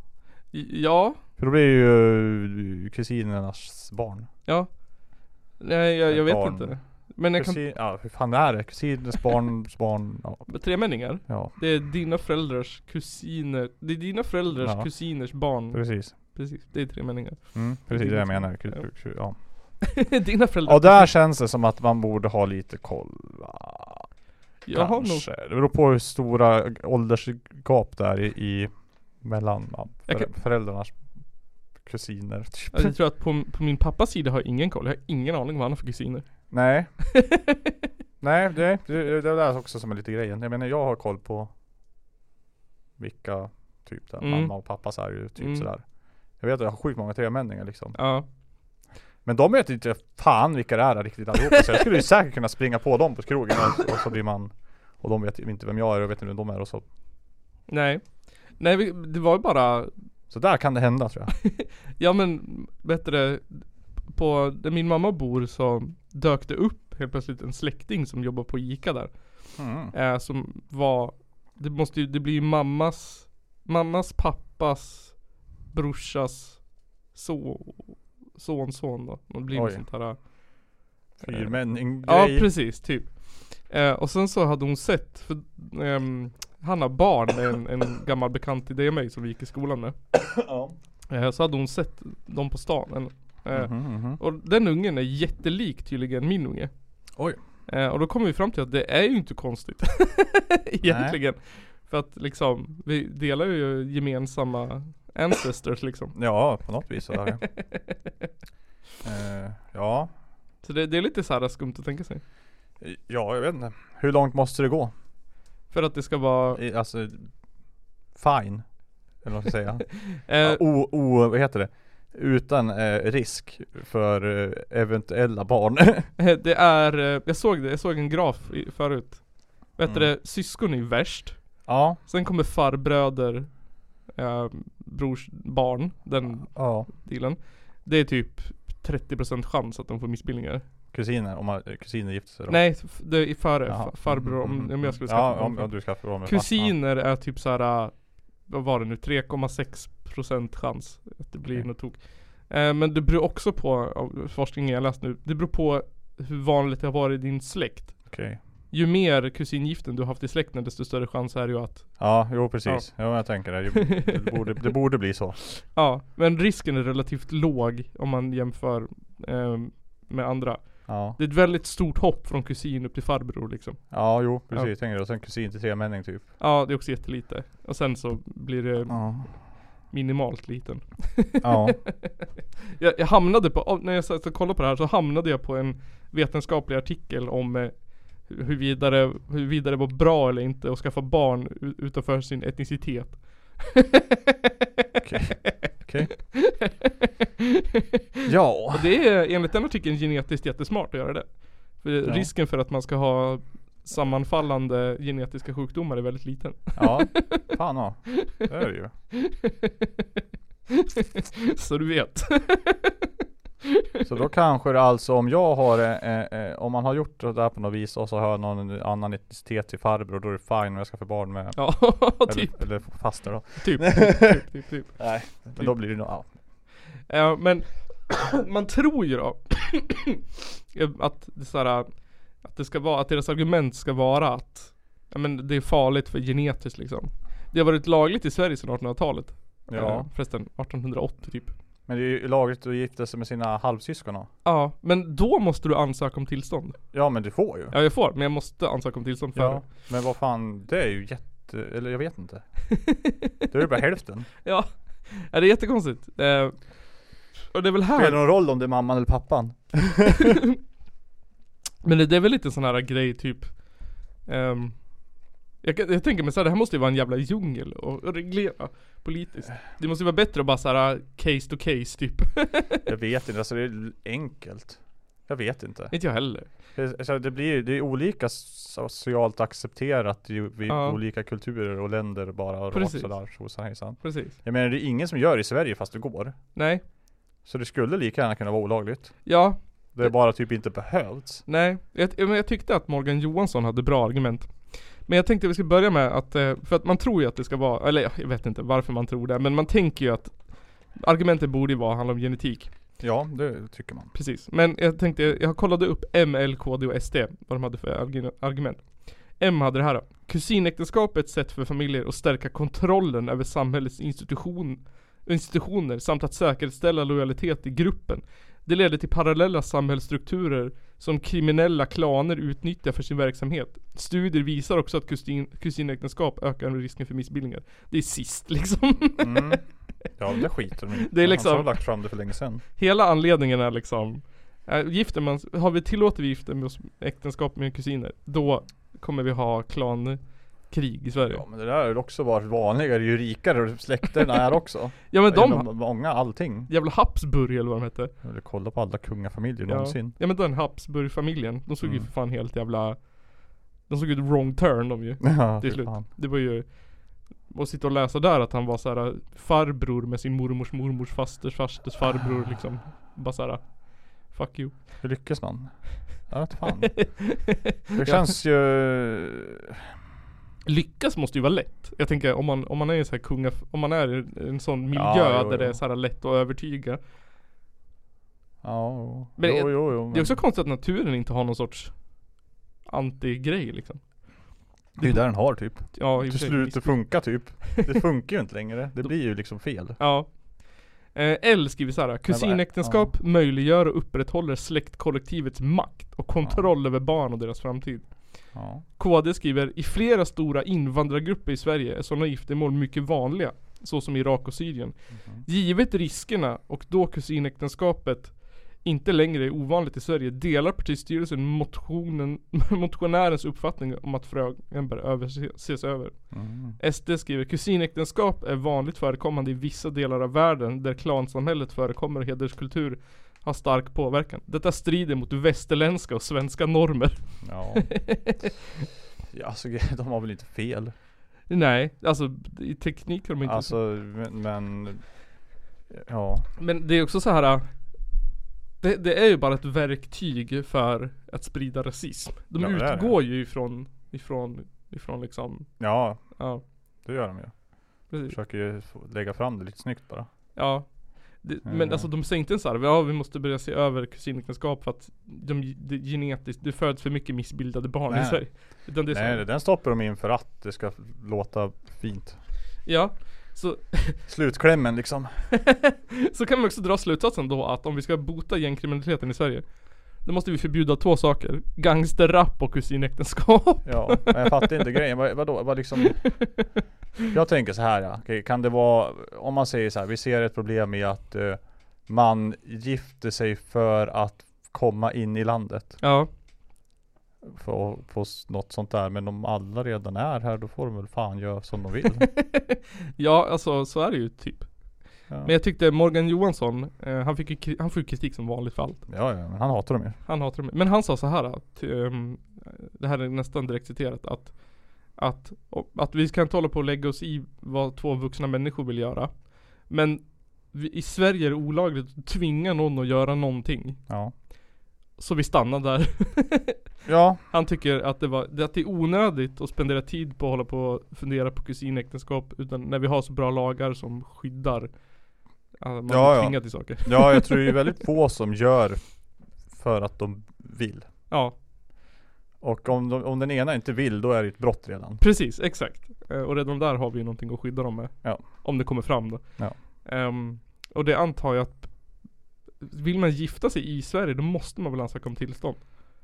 B: I- Ja.
A: För då blir det ju eh, kusinernas barn.
B: Ja. Nej jag, jag vet
A: Barn.
B: inte. Men jag kan,
A: Kusin, ja hur fan är det? Kusinens barns barn, ja.
B: tremänningar.
A: ja
B: Det är dina föräldrars kusiner. Det är dina föräldrars
A: Ja.
B: kusiners barn.
A: precis.
B: Precis, det är tremänningar.
A: Mm, precis det jag menar. Ku- ku- ku- Ja.
B: dina föräldrar.
A: Och där känns det som att man borde ha lite koll. va?
B: jag har nog
A: Kanske. Det beror på hur stora åldersgap det är i, i mellan ja,
B: Jag
A: förä- föräldrarnas kusiner. Typ.
B: Ja, Alltså, Jag tror att på, på min pappas sida har jag ingen koll. Jag har ingen aning vad han har för kusiner.
A: Nej. Nej, det, det, det är där också som är lite grejen. Jag menar jag har koll på vilka typ där
B: Mm.
A: mamma och pappa är ju typ
B: Mm.
A: sådär. Jag vet att jag har sjukt många tremänningar liksom.
B: Ja.
A: Men de vet inte fan vilka det är riktigt allihopa. Så jag skulle ju säkert kunna springa på dem på krogen och, och så blir man och de vet ju inte vem jag är och vet inte vem de är och så.
B: Nej. Nej, vi, det var ju bara,
A: Så där kan det hända tror jag.
B: ja men bättre, på där min mamma bor så dök det upp helt plötsligt en släkting som jobbar på ICA där.
A: Mm.
B: Eh, som var, det måste ju, det blir ju mammas, mammas pappas brorsas so, sonson då. Det blir något
A: Oj.
B: sånt här. eh,
A: Fyrmänning
B: Ja
A: grej.
B: precis, typ. Eh, och sen så hade hon sett, för ehm, han har barn med en, en gammal bekant till dig och mig som vi gick i skolan med. Eh, så hade hon sett dem på stan. En, eh,
A: Mhm, mhm.
B: Och den ungen är jättelik tydligen min unge.
A: Oj.
B: Eh, och då kommer vi fram till att det är ju inte konstigt. Egentligen. För att liksom, vi delar ju gemensamma ancestors liksom.
A: Ja, på något vis så är det. Eh, ja.
B: Så det, det är lite så här skumt att tänka sig.
A: ja, jag vet inte. Hur långt måste det gå?
B: För att det ska vara...
A: I, alltså, fine. Eller vad man ska säga.
B: Eh,
A: Ja, o, o, vad heter det? Utan eh, risk för eh, eventuella barn.
B: det är, eh, jag såg det, jag såg en graf i, förut. Vad heter
A: Mm.
B: det? Syskon är värst.
A: ja.
B: Sen kommer farbröder, eh, brors barn, den
A: Ja.
B: dealen. Det är typ 30% chans att de får missbildningar.
A: Kusiner, om man, eh, kusiner gifter sig då.
B: Nej, f- det är före
A: Jaha. Mm,
B: fa- farbror om, om jag skulle skaffa
A: Ja, om,
B: barn.
A: om du skaffar barn med farsan.
B: Kusiner är typ så här. äh, vad var det nu, 3,6% chans att det blir
A: Okej.
B: något tok. Eh, men det beror också på, av forskningen jag läst nu, det beror på hur vanligt det har varit i din släkt.
A: Okej.
B: Ju mer kusingiften du har haft i släkten desto större chans är det ju att
A: Ja, jo precis. Ja. men jag tänker det. Det borde, det borde bli så.
B: Ja, men risken är relativt låg om man jämför ehm, med andra.
A: Ja,
B: Det är ett väldigt stort hopp från kusin upp till farbror liksom.
A: ja jo precis.
B: Ja.
A: Tänker du. Och sen kusin till tremänning typ.
B: Ja, det är också jättelite. Och sen så blir det
A: Ja.
B: minimalt liten.
A: Ja.
B: Jag, jag hamnade på, av- när jag satt och kollade på det här så hamnade jag på en vetenskaplig artikel om eh, hu- hur vidare, hur vidare det var bra eller inte att skaffa barn u- utanför sin etnicitet.
A: Okej. Okej. Ja.
B: Och det är enligt den artikeln genetiskt jättesmart att göra det. För
A: Ja.
B: risken för att man ska ha sammanfallande genetiska sjukdomar är väldigt liten.
A: Ja. Fan ja. Det är det ju.
B: Så du vet.
A: Så då kanske det alltså om jag har, eh, eh, om man har gjort det där på något vis och så har jag någon annan etnicitet till farbror då är det fine om jag ska få barn med
B: Ja, typ,
A: eller, eller faster då.
B: typ, typ, typ, typ.
A: Nej. Men då blir det nog, ja.
B: Ja, men man tror ju då att det, så här, att det ska vara, att deras argument ska vara att ja, men det är farligt för genetiskt liksom. Det har varit lagligt i Sverige sedan 1800-talet. Eh,
A: ja.
B: Förresten, 1880 typ.
A: Men det är ju lagligt att gifta sig med sina halvsyskon då.
B: Ja, men då måste du ansöka om tillstånd.
A: Ja men du får ju.
B: Ja jag får, men jag måste ansöka om tillstånd för
A: Ja,
B: det.
A: men vad fan, det är ju jätte, eller jag vet inte. Det är ju bara hälften.
B: Ja. ja, det är jättekonstigt. Eh, och det är väl
A: Spelar det
B: här,
A: någon roll om det är mamman eller pappan?
B: men det, det är väl lite sån här grej typ ehm, jag, kan- jag tänker mig såhär, det här måste ju vara en jävla djungel och, och reglera politiskt. Det måste ju vara bättre att bara såhär case to case typ.
A: Jag vet inte, alltså det är enkelt. Jag vet inte.
B: inte jag heller.
A: Det, alltså det blir det är olika alltså, socialt accepterat i, i
B: Ja.
A: olika kulturer och länder bara rakt
B: Precis.
A: sådär tjosan hejsan.
B: Precis.
A: Jag menar det är ingen som gör det i Sverige fast det går.
B: Nej.
A: Så det skulle lika gärna kunna vara olagligt.
B: Ja,
A: Det är bara typ inte behövts.
B: Nej, jag, jag, men jag tyckte att Morgan Johansson hade bra argument. Men jag tänkte vi ska börja med att, eh, för att man tror ju att det ska vara, eller ja, jag vet inte varför man tror det, men man tänker ju att argumentet borde ju vara, handla om genetik.
A: Ja, det tycker man.
B: Precis. Men jag tänkte, jag kollade upp M, L, KD och SD, vad de hade för argu- argument. M hade det här då. Kusinäktenskap är ett sätt för familjer att stärka kontrollen över samhällets institution, institutioner samt att säkerställa lojalitet i gruppen. Det leder till parallella samhällsstrukturer som kriminella klaner utnyttjar för sin verksamhet. Studier visar också att kusin, kusinäktenskap ökar risken för missbildningar. Det är sist liksom.
A: Mm. Ja, det skiter de i.
B: Det är liksom-
A: Han har lagt fram det för länge sedan.
B: Hela anledningen är liksom eh, Gifter man, har vi tillåter vi gifter med oss, äktenskap med kusiner Då kommer vi ha klankrig i Sverige
A: Ja
B: Ja,
A: men det där har ju också varit vanligare ju rikare släkterna är också.
B: men de,
A: Inom Många allting.
B: jävla Habsburg eller vad de hette
A: Jag vill kolla på alla kungafamiljer
B: ja.
A: någonsin.
B: ja men den Habsburg-familjen, de såg ju
A: Mm.
B: för fan helt jävla De såg ut wrong turn de ju
A: Ja,
B: till
A: fy
B: slut
A: fan.
B: Det var ju och sitta och läsa där att han var så här farbror med sin mormors mormors fasters fasters farbror liksom Bara så här, Fuck you
A: Hur lyckas man? Jag vet fan. Det känns ju...
B: Lyckas måste ju vara lätt. Jag tänker om man, om man är i en sån här kunga, om man är i en sån miljö
A: Ja, jo,
B: där det
A: jo.
B: är så här lätt att övertyga.
A: Ja, jo.
B: Men
A: jo,
B: det-
A: jo, jo men...
B: Det är också konstigt att naturen inte har någon sorts anti-grej liksom.
A: det är ju där den har typ.
B: Ja, i och
A: Till
B: för sig.
A: slut det funkar typ. Det funkar ju inte längre. Det blir ju liksom fel.
B: Ja. Eh, L skriver så här. Kusinäktenskap möjliggör och upprätthåller släktkollektivets makt och kontroll över barn och deras framtid.
A: Ja.
B: KD skriver i flera stora invandrargrupper i Sverige är sådana giftermål mycket vanliga, såsom Irak och Syrien. Givet riskerna och då kusinäktenskapet inte längre är ovanligt i Sverige delar partistyrelsen motionen, motionärens uppfattning om att frågan bör överse- ses över. SD skriver kusinäktenskap är vanligt förekommande i vissa delar av världen där klansamhället förekommer och hederskultur har stark påverkan. Detta strider mot västerländska och svenska normer.
A: Ja. ja alltså, de har väl inte fel.
B: Nej, alltså i teknik har de inte
A: Alltså men, men Ja.
B: Men det är också så här. äh, Det, det är ju bara ett verktyg för att sprida rasism. De
A: Ja, det är det.
B: utgår ju ifrån, ifrån, ifrån liksom,
A: Ja,
B: ja
A: det gör de ju.
B: precis.
A: Försöker ju få- lägga fram det lite snyggt bara.
B: Ja. Det, Men
A: Mm.
B: alltså de säger inte så här, ja vi måste börja se över kusinäktenskap för att de, det, genetiskt, det föds för mycket missbildade barn i
A: Nej.
B: Sverige. Utan det är så
A: Nej,
B: här,
A: den stoppar de in för att det ska låta fint.
B: Ja. Så,
A: Slutklämmen liksom.
B: så kan man också dra slutsatsen då att om vi ska bota gängkriminaliteten i Sverige Då måste vi förbjuda två saker. Gangsterrap och kusinäktenskap.
A: Ja, men jag fattar inte grejen. Vad, vadå, vad liksom? Jag tänker så här ja. Okej, Kan det vara, om man säger så här, vi ser ett problem i att eh, man gifter sig för att komma in i landet.
B: Ja.
A: För att få s- något sånt där. Men om alla redan är här, då får de väl fan göra som de vill.
B: Ja, alltså så är det ju typ.
A: Ja.
B: Men jag tyckte Morgan Johansson, eh, han, fick ju, kri- han får ju kritik som vanligt för allt.
A: Ja, ja, men han hatar dem ju.
B: Han hatar dem. Men han sa så här att, ehm, det här är nästan direkt citerat, att, att, och- att vi ska inte hålla på och lägga oss i vad två vuxna människor vill göra. Men vi, i Sverige är det olagligt att tvinga någon att göra någonting.
A: Ja.
B: Så vi stannar där.
A: Ja,
B: Han tycker att det, var, att det är onödigt att spendera tid på att hålla på och fundera på kusinäktenskap utan när vi har så bra lagar som skyddar att man
A: Ja,
B: blir
A: ja.
B: tvingad till saker.
A: ja jag tror det är väldigt få som gör för att de vill.
B: Ja,
A: Och om, de, om den ena inte vill, då är det ett brott redan.
B: precis, exakt. Eh, Och redan där har vi ju någonting att skydda dem med.
A: Ja.
B: Om det kommer fram då.
A: Ja.
B: Ehm, och det antar jag att vill man gifta sig i Sverige då måste man väl ansöka om tillstånd?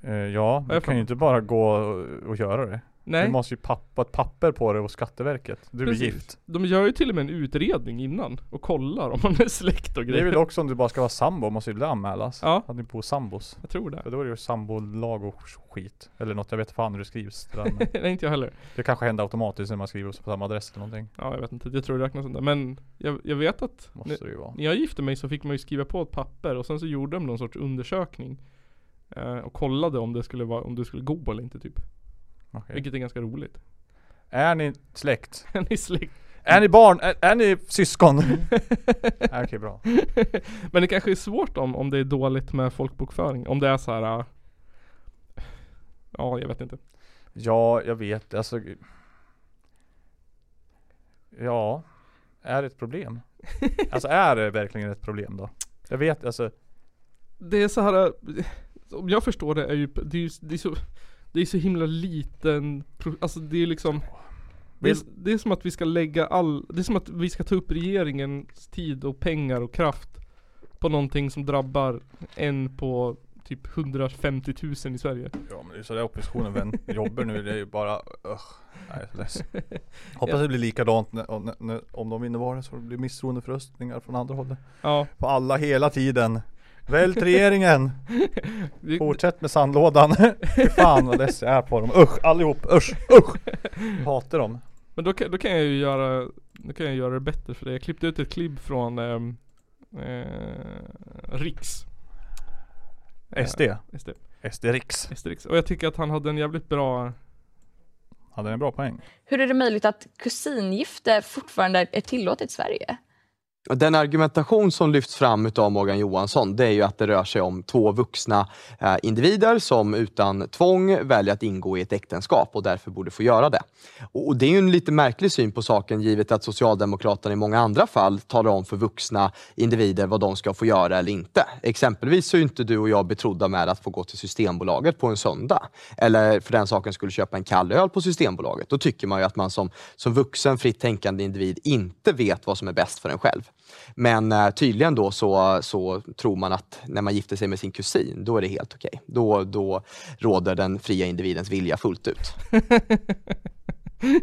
A: Eh, ja,
B: jag
A: du
B: fattar.
A: kan ju inte bara gå och, och göra det.
B: Nej,
A: Du måste ju pappa ett papper på det och Skatteverket. Du
B: Precis.
A: blir gift.
B: de gör ju till och med en utredning innan och kollar om man är släkt och
A: Det är
B: grejer.
A: väl också om du bara ska vara sambo, måste ju det anmälas.
B: Ja.
A: Att ni bor sambos.
B: Jag tror det.
A: För då är det ju sambolag och skit. Eller något, jag vet fan hur det skrivs. Det, där, men
B: Nej, inte jag heller.
A: det kanske händer automatiskt när man skriver på samma adress eller någonting.
B: Ja jag vet inte, jag tror det räknas inte. Men jag, jag vet att
A: Måste det ju vara.
B: när jag gifte mig så fick man ju skriva på ett papper och sen så gjorde de någon sorts undersökning. Eh, och kollade om det skulle vara, om det skulle gå eller inte typ.
A: Okej.
B: Vilket är ganska roligt.
A: Är ni släkt?
B: Ni är släkt.
A: Är ni barn? Är, är ni syskon?
B: Mm.
A: Okej, bra.
B: Men det kanske är svårt om, om det är dåligt med folkbokföring. Om det är så här. eh, ja jag vet inte.
A: Ja, jag vet. Alltså... Ja, är det ett problem? Alltså är det verkligen ett problem då? Jag vet, alltså...
B: Det är så här. eh, Om jag förstår det är ju, det är, ju- det är så det är så himla liten, pro- alltså det är liksom Det är,
A: Vill,
B: det är som att vi ska lägga all, det är som att vi ska ta upp regeringens tid och pengar och kraft på någonting som drabbar en på typ 150 000 i Sverige.
A: ja men det är så där oppositionen vän, jobbar nu, det är ju bara... Ugh. Nej, jag är så ledsen. Hoppas det blir likadant när, om- när, om de vinner valet så det blir misstroendeförröstningar från andra hållet.
B: Ja,
A: På alla hela tiden. Vält regeringen!
B: det,
A: Fortsätt med sandlådan. Fy Fan vad less jag är på dem. Usch allihop. Usch, usch. Jag hatar dem.
B: men då kan, då kan jag ju göra, då kan jag göra det bättre för dig. Jag klippte ut ett klipp från ehm, eh, Riks.
A: SD.
B: SD,
A: SD Riks.
B: SD Riks. Och jag tycker att han hade en jävligt bra,
A: Hade en bra poäng.
K: Hur är det möjligt att kusingifte fortfarande är tillåtet i Sverige?
L: Den argumentation som lyfts fram av Morgan Johansson det är ju att det rör sig om två vuxna eh, individer som utan tvång väljer att ingå i ett äktenskap och därför borde få göra det. Och och det är ju en lite märklig syn på saken givet att Socialdemokraterna i många andra fall talar om för vuxna individer vad de ska få göra eller inte. Exempelvis så är ju inte du och jag betrodda med att få gå till Systembolaget på en söndag. Eller för den saken skulle köpa en kall öl på Systembolaget. Då tycker man ju att man som, som vuxen, fritt tänkande individ inte vet vad som är bäst för en själv. Men eh, tydligen då så, så tror man att när man gifter sig med sin kusin, då är det helt okej. Då, då råder den fria individens vilja fullt ut.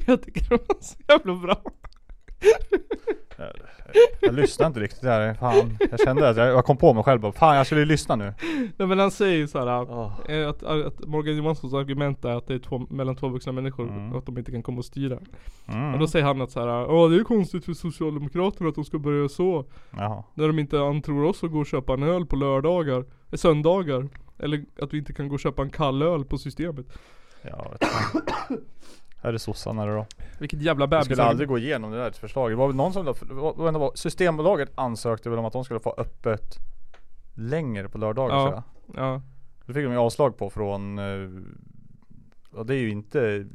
B: Jag tycker det var så jävla bra.
A: Jag lyssnade inte riktigt där, fan. Jag kände att jag, jag kom på mig själv bara, fan jag skulle ju lyssna nu.
B: Nej men han säger ju såhär
A: Ah.
B: eh, att, att Morgan Johanssons argument är att det är två, mellan två vuxna människor och att de inte kan komma och styra.
A: Mm.
B: Och då säger han att såhär, ja det är konstigt för Socialdemokraterna att de ska börja så.
A: Jaha.
B: När de inte antror oss att gå och köpa en öl på lördagar, eh, söndagar. Eller att vi inte kan gå och köpa en kall öl på systemet.
A: Ja, vet fan. Här är sossarna då.
B: Vilket jävla
A: Jag skulle
B: bebisargument.
A: aldrig gå igenom det där förslaget. Det var väl någon som, det var- det var, Systembolaget ansökte väl om att de skulle få öppet längre på lördagar
B: Ja,
A: tror jag.
B: ja.
A: Det fick de ju avslag på från, eh, ja det är ju inte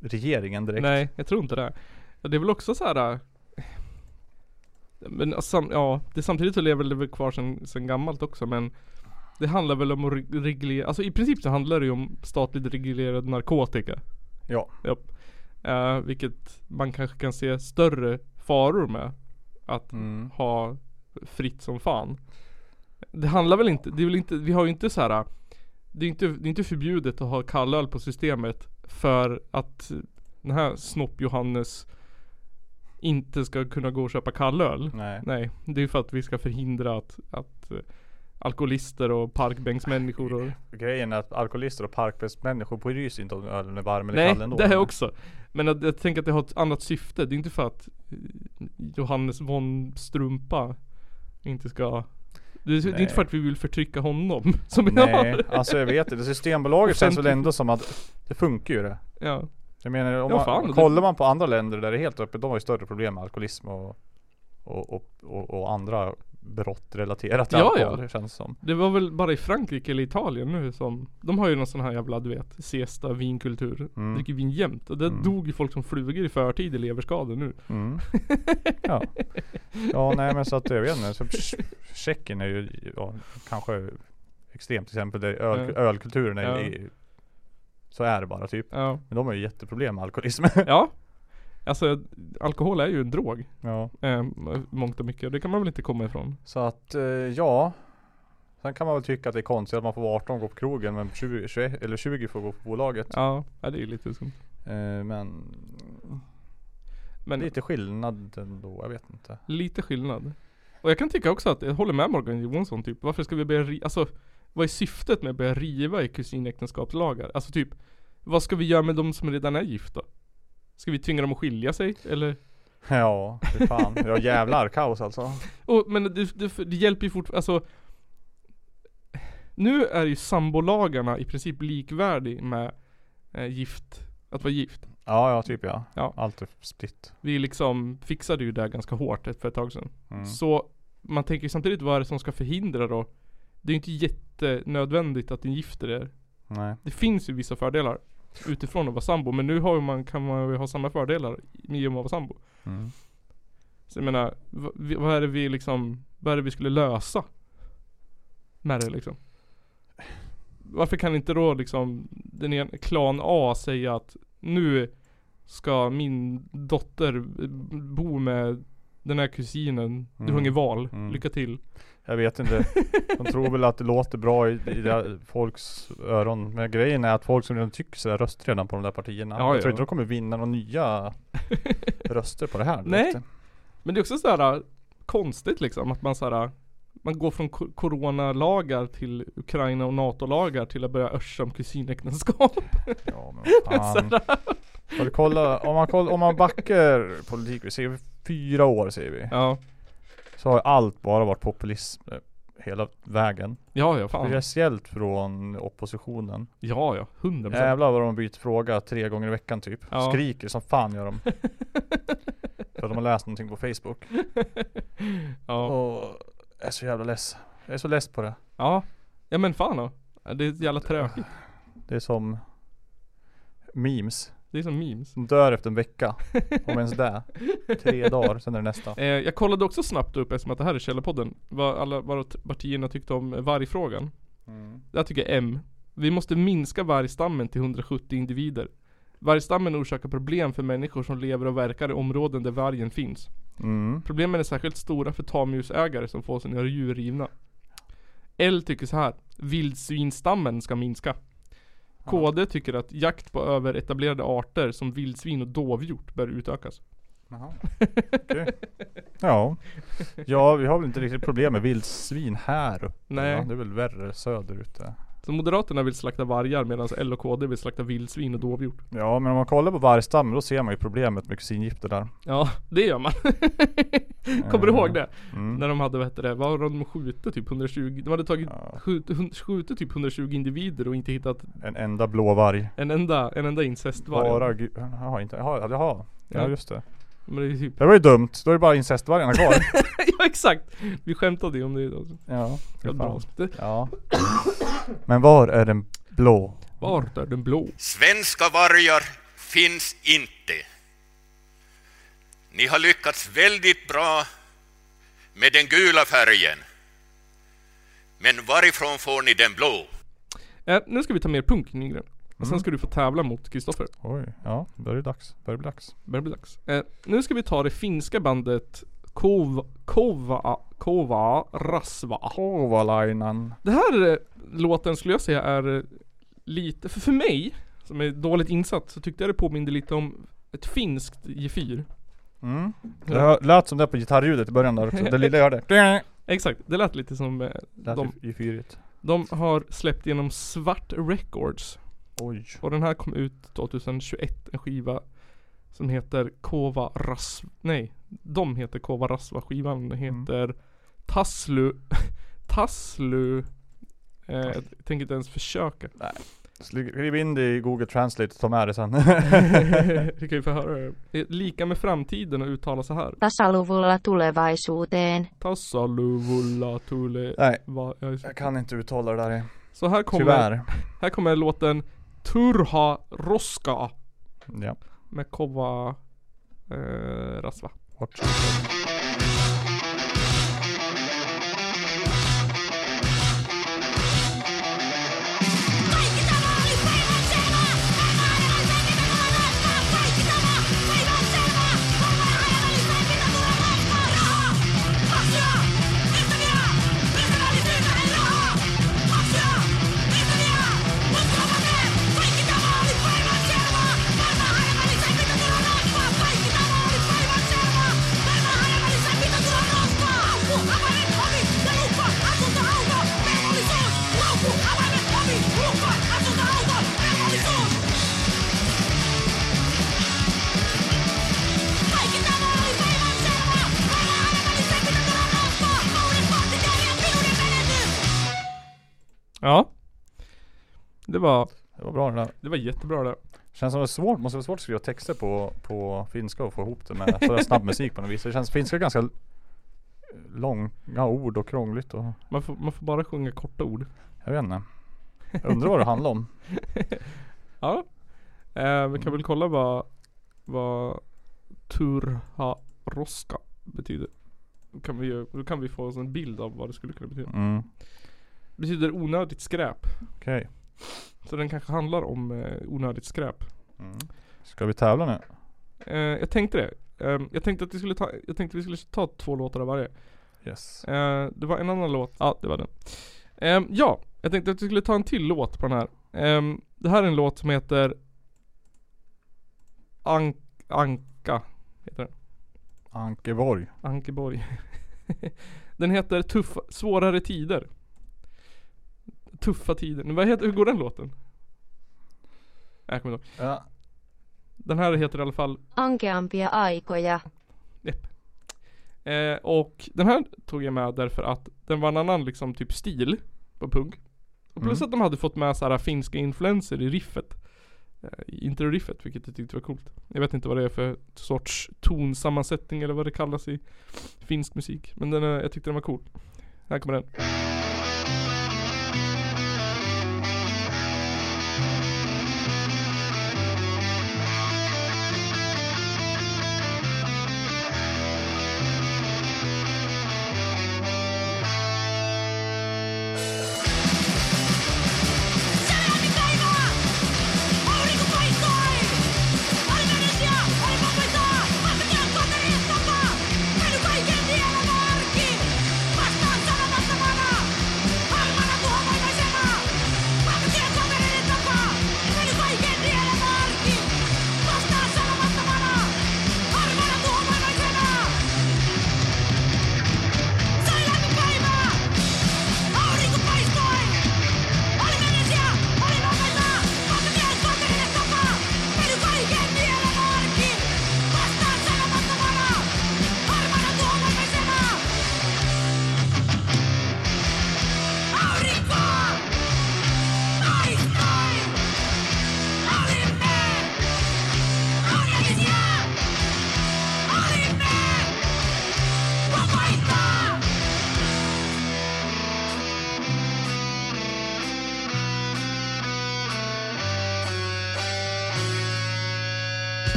A: regeringen direkt.
B: Nej, jag tror inte det. Ja, Det är väl också så här. äh, Men sam, ja, det, samtidigt så lever det väl kvar sen, sen gammalt också men Det handlar väl om att reg- reglera, alltså i princip så handlar det ju om statligt reglerad narkotika.
A: Ja.
B: Japp. Eh, vilket man kanske kan se större faror med. Att
A: Mm.
B: ha fritt som fan. Det handlar väl inte, det är väl inte, vi har ju inte så här. äh, Det är inte, det är inte förbjudet att ha kallöl på systemet för att den här snopp-Johannes inte ska kunna gå och köpa kallöl.
A: Nej.
B: Nej, det är för att vi ska förhindra att, att eh, alkoholister och parkbänksmänniskor och
A: Grejen är att alkoholister och parkbänksmänniskor bryr sig inte om ölen är varm eller
B: Nej,
A: kall ändå.
B: det här också. Men att, jag tänker att det har ett annat syfte. Det är inte för att eh, Johannes von Strumpa inte ska det är, det är
A: Nej.
B: inte för att vi vill förtrycka honom som vi
A: Nej,
B: har.
A: alltså jag vet inte. Systembolaget känns väl
B: Offentlig-
A: ändå som att det funkar ju det.
B: Ja.
A: Jag menar om
B: Ja,
A: man,
B: fan, det-
A: kollar man på andra länder där det är helt öppet, de har ju större problem med alkoholism och, och, och, och, och andra brott relaterat till
B: Ja,
A: alkohol
B: ja.
A: känns det som.
B: Det var väl bara i Frankrike eller Italien nu som De har ju någon sån här jävla du vet Siesta vinkultur
A: Mm.
B: Dricker vin jämt och där dog ju folk som flugor i förtid i leverskador nu
A: Mm. Ja. ja, nej men så att jag vet inte. Så Tj- Tjeckien är ju ja, kanske extremt exempel där öl,
B: Ja.
A: ölkulturen är,
B: Ja.
A: är så är det bara typ.
B: Ja.
A: Men de har ju jätteproblem med alkoholism.
B: Ja Alltså alkohol är ju en drog
A: Ja.
B: eh, Mångt och mycket, det kan man väl inte komma ifrån
A: Så att eh, ja. Sen kan man väl tycka att det är konstigt att man får vara 18 och gå på krogen men 20, 21, eller 20 får gå på bolaget.
B: Ja, ja det är ju lite skumt
A: Eh, men,
B: Men-
A: lite skillnad ändå, jag vet inte.
B: Lite skillnad. Och jag kan tycka också att jag håller med Morgan Johansson typ. Varför ska vi börja ri- alltså vad är syftet med att börja riva i kusinäktenskapslagar? Alltså typ, vad ska vi göra med de som redan är gifta? Ska vi tvinga dem att skilja sig eller?
A: Ja, fy fan. Ja jävlar kaos alltså.
B: Och, men det, det, det hjälper ju fortfarande, alltså Nu är ju sambolagarna i princip likvärdig med eh, gift, att vara gift.
A: Ja, ja typ ja.
B: Ja.
A: Allt är splitt.
B: Vi liksom fixade ju det här ganska hårt ett- för ett tag sedan.
A: Mm.
B: Så man tänker ju samtidigt vad är det som ska förhindra då? Det är ju inte jättenödvändigt att ni gifter er.
A: Nej.
B: Det finns ju vissa fördelar utifrån att vara sambo. Men nu har ju man, kan man ju ha samma fördelar i och med att vara sambo.
A: Mm.
B: Så jag menar, vad, vi- vad är det vi liksom, vad är det vi skulle lösa? Med det liksom. Varför kan inte då liksom den en, klan A säga att nu ska min dotter eh, bo med den här kusinen. Du har
A: Mm.
B: inget val.
A: Mm.
B: Lycka till.
A: Jag vet inte. De tror väl att det låter bra i, i det här folks öron. Men grejen är att folk som redan tycker sådär röstar redan på de där partierna.
B: Ja,
A: jag
B: ja.
A: tror inte de kommer vinna några nya röster på det här.
B: Nej.
A: direkt.
B: Men det är också så här äh, konstigt liksom att man så här äh, man går från ko- coronalagar till Ukraina och NATO-lagar till att börja örsa om kusinäktenskap.
A: Ja men vad fan.
B: Så här,
A: Har du kollat, om, man koll, om man backar politik, vi ser fyra år säger vi.
B: Ja.
A: Så har allt bara varit populism eh, hela vägen.
B: Ja, ja, fan.
A: Speciellt från oppositionen.
B: Ja, ja. 100%.
A: Jävlar vad de byter fråga tre gånger i veckan typ.
B: Ja.
A: Skriker som fan gör de. För att de har läst någonting på Facebook.
B: Ja.
A: Och jag är så jävla less. Jag är så less på det.
B: Ja. Ja men fan då. Ja, Det är jävla tråkigt.
A: Det är som memes.
B: Det är som memes.
A: De dör efter en vecka. Om ens det. Tre dagar, sen är det nästa.
B: Eh, jag kollade också snabbt upp eftersom att det här är Källarpodden. Vad alla vad t- partierna tyckte om vargfrågan.
A: Mm.
B: Det här tycker jag är M. Vi måste minska vargstammen till 170 individer. Vargstammen orsakar problem för människor som lever och verkar i områden där vargen finns.
A: Mm.
B: Problemen är särskilt stora för tamdjursägare som får sina djur rivna. L tycker så här. Vildsvinstammen ska minska. KD tycker att jakt på överetablerade arter som vildsvin och dovhjort bör utökas.
A: Ja. ja, vi har väl inte riktigt problem med vildsvin här uppe.
B: Nej.
A: Ja, det är väl värre söderut. eh. där.
B: Så Moderaterna vill slakta vargar medan L och KD vill slakta vildsvin och dovhjort.
A: Ja, men om man kollar på vargstammen då ser man ju problemet med kusingifter där.
B: Ja, det gör man. Kommer du
A: Eh,
B: ihåg det?
A: mm.
B: När de hade, vad hette det, vad hade de skjutit typ 120? De hade tagit, skjut, hund- skjutit typ 120 individer och inte hittat
A: En enda blåvarg.
B: en enda, en enda incestvarg.
A: Bara gu- Jaha, inte, jaha, jaha.
B: Ja.
A: Ja just det.
B: Men det är typ,
A: Det var ju dumt, då är det bara incestvargarna kvar.
B: ja exakt! Vi skämtade ju om det idag.
A: Ja,
B: det
A: fan.
B: bra. Det-
A: ja. Men var är den blå?
B: Vart är den blå?
M: Svenska vargar finns inte. Ni har lyckats väldigt bra med den gula färgen. Men varifrån får ni den blå?
B: Eh, nu ska vi ta mer punk Nygren. Och sen
A: Mm.
B: ska du få tävla mot Kristoffer.
A: Oj, ja, då är det dags. Börjar det bli dags.
B: Börjar bli dags. Eh, nu ska vi ta det finska bandet Kova... Kova... Kova... Rasva.
A: Kovalainen.
B: Det här eh, låten skulle jag säga är eh, lite, för, för mig, som är dåligt insatt, så tyckte jag det påminde lite om ett finskt gefyr.
A: Mm. Det
B: Ja.
A: hör- lät som det på gitarrljudet i början där också. Det lilla jag hörde.
B: Exakt, det lät lite som eh,
A: Lät
B: de,
A: ju fyrigt.
B: de har släppt genom Svart Records.
A: Oj.
B: Och den här kom ut 2021, en skiva som heter Kova Rasva, nej, de heter Kova Rasva, skivan heter Taslu, Taslu, eh, jag tänker inte ens försöka.
A: Skriv in det i Google Translate och ta med det sen.
B: Mm. Vi kan ju få höra det. Det är Lika med framtiden och uttala så här.
N: Tasaluvulla tulevaisuuteen.
B: Tassaluvulla tule...
A: Nej.
B: Va, jag,
A: Jag kan inte uttala det där.
B: Så här kommer...
A: Tyvärr.
B: Här kommer låten Turha Roska
A: Ja.
B: med Kova eh, Rasva. Ja. Det var...
A: Det var bra det där.
B: Det var jättebra det där.
A: Känns som det är svårt, måste vara svårt att skriva texter på, på finska och få ihop det med sådär snabb musik på något vis. Det känns finska är ganska l- långa ord och krångligt och
B: Man får, man får bara sjunga korta ord.
A: jag vet inte. Jag undrar vad det handlar om.
B: Ja. Eh, vi kan väl kolla vad, vad Turha Roska betyder. Då kan vi, ju- då kan vi få oss en bild av vad det skulle kunna betyda.
A: Mm.
B: Betyder onödigt skräp.
A: Okej.
B: Så den kanske handlar om eh, onödigt skräp.
A: Ska vi tävla nu?
B: Eh, jag tänkte det. Ehm, jag, tänkte att vi skulle ta, jag tänkte att vi skulle ta två låtar av varje.
A: Yes.
B: Eh, det var en annan låt. Ja, det var den. Ehm, ja, jag tänkte att vi skulle ta en till låt på den här. Ehm, det här är en låt som heter An- Anka. Heter den.
A: Ankeborg.
B: Ankeborg. den heter Tuffa, Svårare tider. Tuffa tider. Vad heter, hur går den låten? Nej, Jag kommer inte
A: ihåg.
B: Den här heter i alla fall
N: Ankeampia aikoja.
B: Eh, och den här tog jag med därför att den var en annan liksom typ stil på punk. Och plus
A: Mm.
B: att de hade fått med så här finska influenser i riffet. Eh, I intro-riffet, vilket jag tyckte var coolt. Jag vet inte vad det är för sorts tonsammansättning eller vad det kallas i finsk musik. Men den, eh, jag tyckte den var cool. Här kommer den.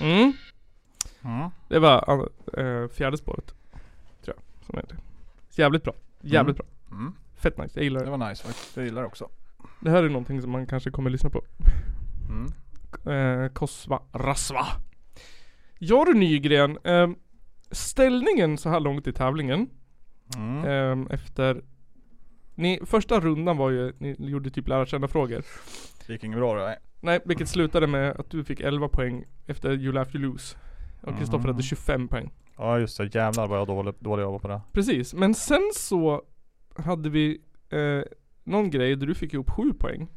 B: Mm.
A: Mm.
B: Det var eh, fjärde spåret. Tror jag. Som heter. Jävligt bra. Jävligt
A: Mm.
B: bra.
A: Mm.
B: Fett nice. Jag gillar det.
A: Det var nice faktiskt. Jag gillar det också.
B: Det här är någonting som man kanske kommer lyssna på.
A: Mm.
B: Eh, Kosva Rasva. Ja du Nygren. ehm, ställningen så här långt i tävlingen.
A: Mm.
B: ehm, efter... Ni, första rundan var ju, ni gjorde typ lära känna frågor.
A: Det gick inget bra då, nej.
B: Nej, vilket slutade med att du fick 11 poäng efter You Laugh You Lose. Och Kristoffer
A: Mm.
B: hade 25 poäng.
A: Ja just det, jävlar vad jag dålig, dålig jag var på det.
B: Precis, men sen så hade vi eh, någon grej där du fick ihop 7 poäng.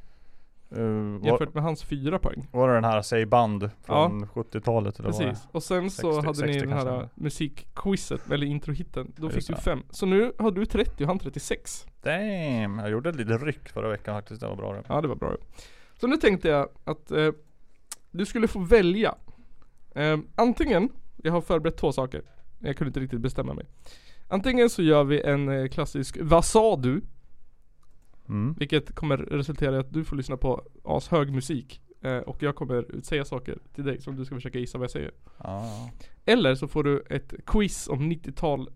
A: Uh,
B: Jämfört med hans 4 poäng.
A: Var det den här Säg band från 70-talet eller vad
B: Precis,
A: det?
B: och sen
A: 60
B: så hade ni
A: 60
B: den här
A: kanske.
B: musikquizet, eller introhitten. Då
A: Just
B: fick du
A: det.
B: 5. Så nu har du 30 och han 36.
A: Damn, jag gjorde ett litet ryck förra veckan faktiskt, det var bra det.
B: Ja det var bra Så nu tänkte jag att eh, du skulle få välja. Eh, antingen, jag har förberett två saker. Jag kunde inte riktigt bestämma mig. Antingen så gör vi en eh, klassisk Vad sa du?
A: Mm.
B: Vilket kommer resultera i att du får lyssna på ashög musik. Eh, och jag kommer säga saker till dig som du ska försöka gissa vad jag säger. Eller så får du ett quiz om 90-tals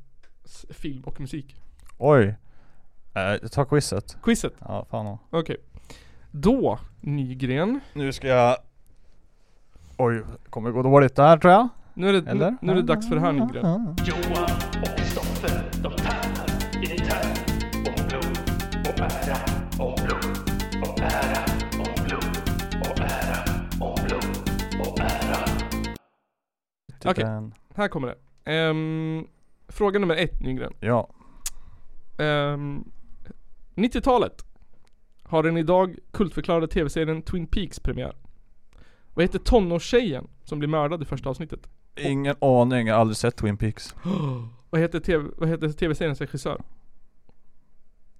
B: film och musik.
A: Oj! Eh, ta quizet.
B: Quizet?
A: Ja, fan ja.
B: Okej. Då, Nygren.
A: Nu ska jag... Oj, kommer gå dåligt där tror jag.
B: Nu är det, nu,
A: Eller?
B: nu är det dags för det här Nygren.
O: Johan och Kristoffer, de tävlar i en tävling om blod och ära, om blod och ära, om blod och ära, om blod och ära.
B: Okej, här kommer det. Ehm, fråga nummer ett Nygren.
A: Ja.
B: Ehm, 90-talet har den idag kultförklarade tv-serien Twin Peaks premiär. Vad heter tonårstjejen som blir mördad i första avsnittet?
A: Ingen aning, jag har aldrig sett Twin Peaks.
B: Vad heter TV vad heter tv-seriens regissör?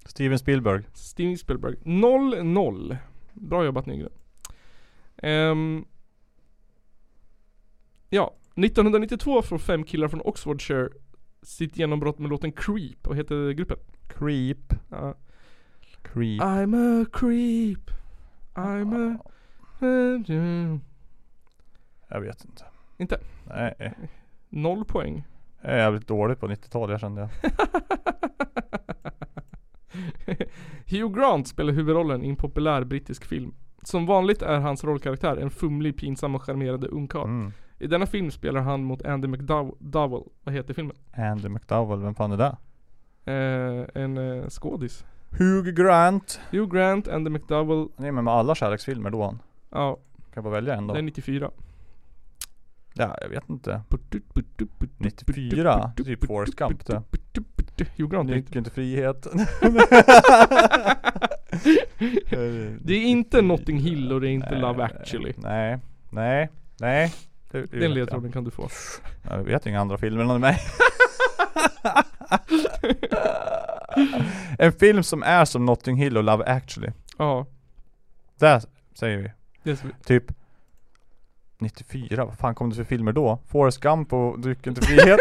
A: Steven Spielberg.
B: Steven Spielberg. 0-0. Bra jobbat Nygren. Ehm, ja, 1992 får fem killar från Oxfordshire sitt genombrott med låten Creep. Vad heter gruppen?
A: Creep.
B: Ja.
A: Creep.
B: Ah. I'm a creep. I'm a...
A: Jag vet inte.
B: Inte?
A: Nej.
B: Noll poäng.
A: Jag är jävligt dålig på 90-tal, jag kände jag.
B: Hugh Grant spelar huvudrollen i en populär brittisk film. Som vanligt är hans rollkaraktär en fumlig, pinsam och charmerande ungkarl.
A: Mm.
B: I denna film spelar han mot Andy McDowell. Vad heter filmen?
A: Andy McDowell, vem fan är det?
B: Eh, en eh, skådis.
A: Hugh Grant.
B: Hugh Grant, Andy McDowell.
A: Nej men med alla kärleksfilmer då han.
B: Ja.
A: Kan jag bara välja en då?
B: Det är 94.
A: Ja, jag vet inte. 94? Typ Forrest Gump det.
B: Hugh Grant är inte-
A: Nyckeln till frihet.
B: Det är inte Notting Hill och det är inte Love actually.
A: Nej, nej, nej. Det, det vet
B: Den ledtråden
A: jag.
B: kan du få.
A: Jag vet inga andra filmer än mig. en film som är som Notting Hill och Love actually.
B: Ja.
A: Där säger vi.
B: Det ska vi-
A: Typ 94, vad fan kom det för filmer då? Forrest Gump och Drycken till frihet.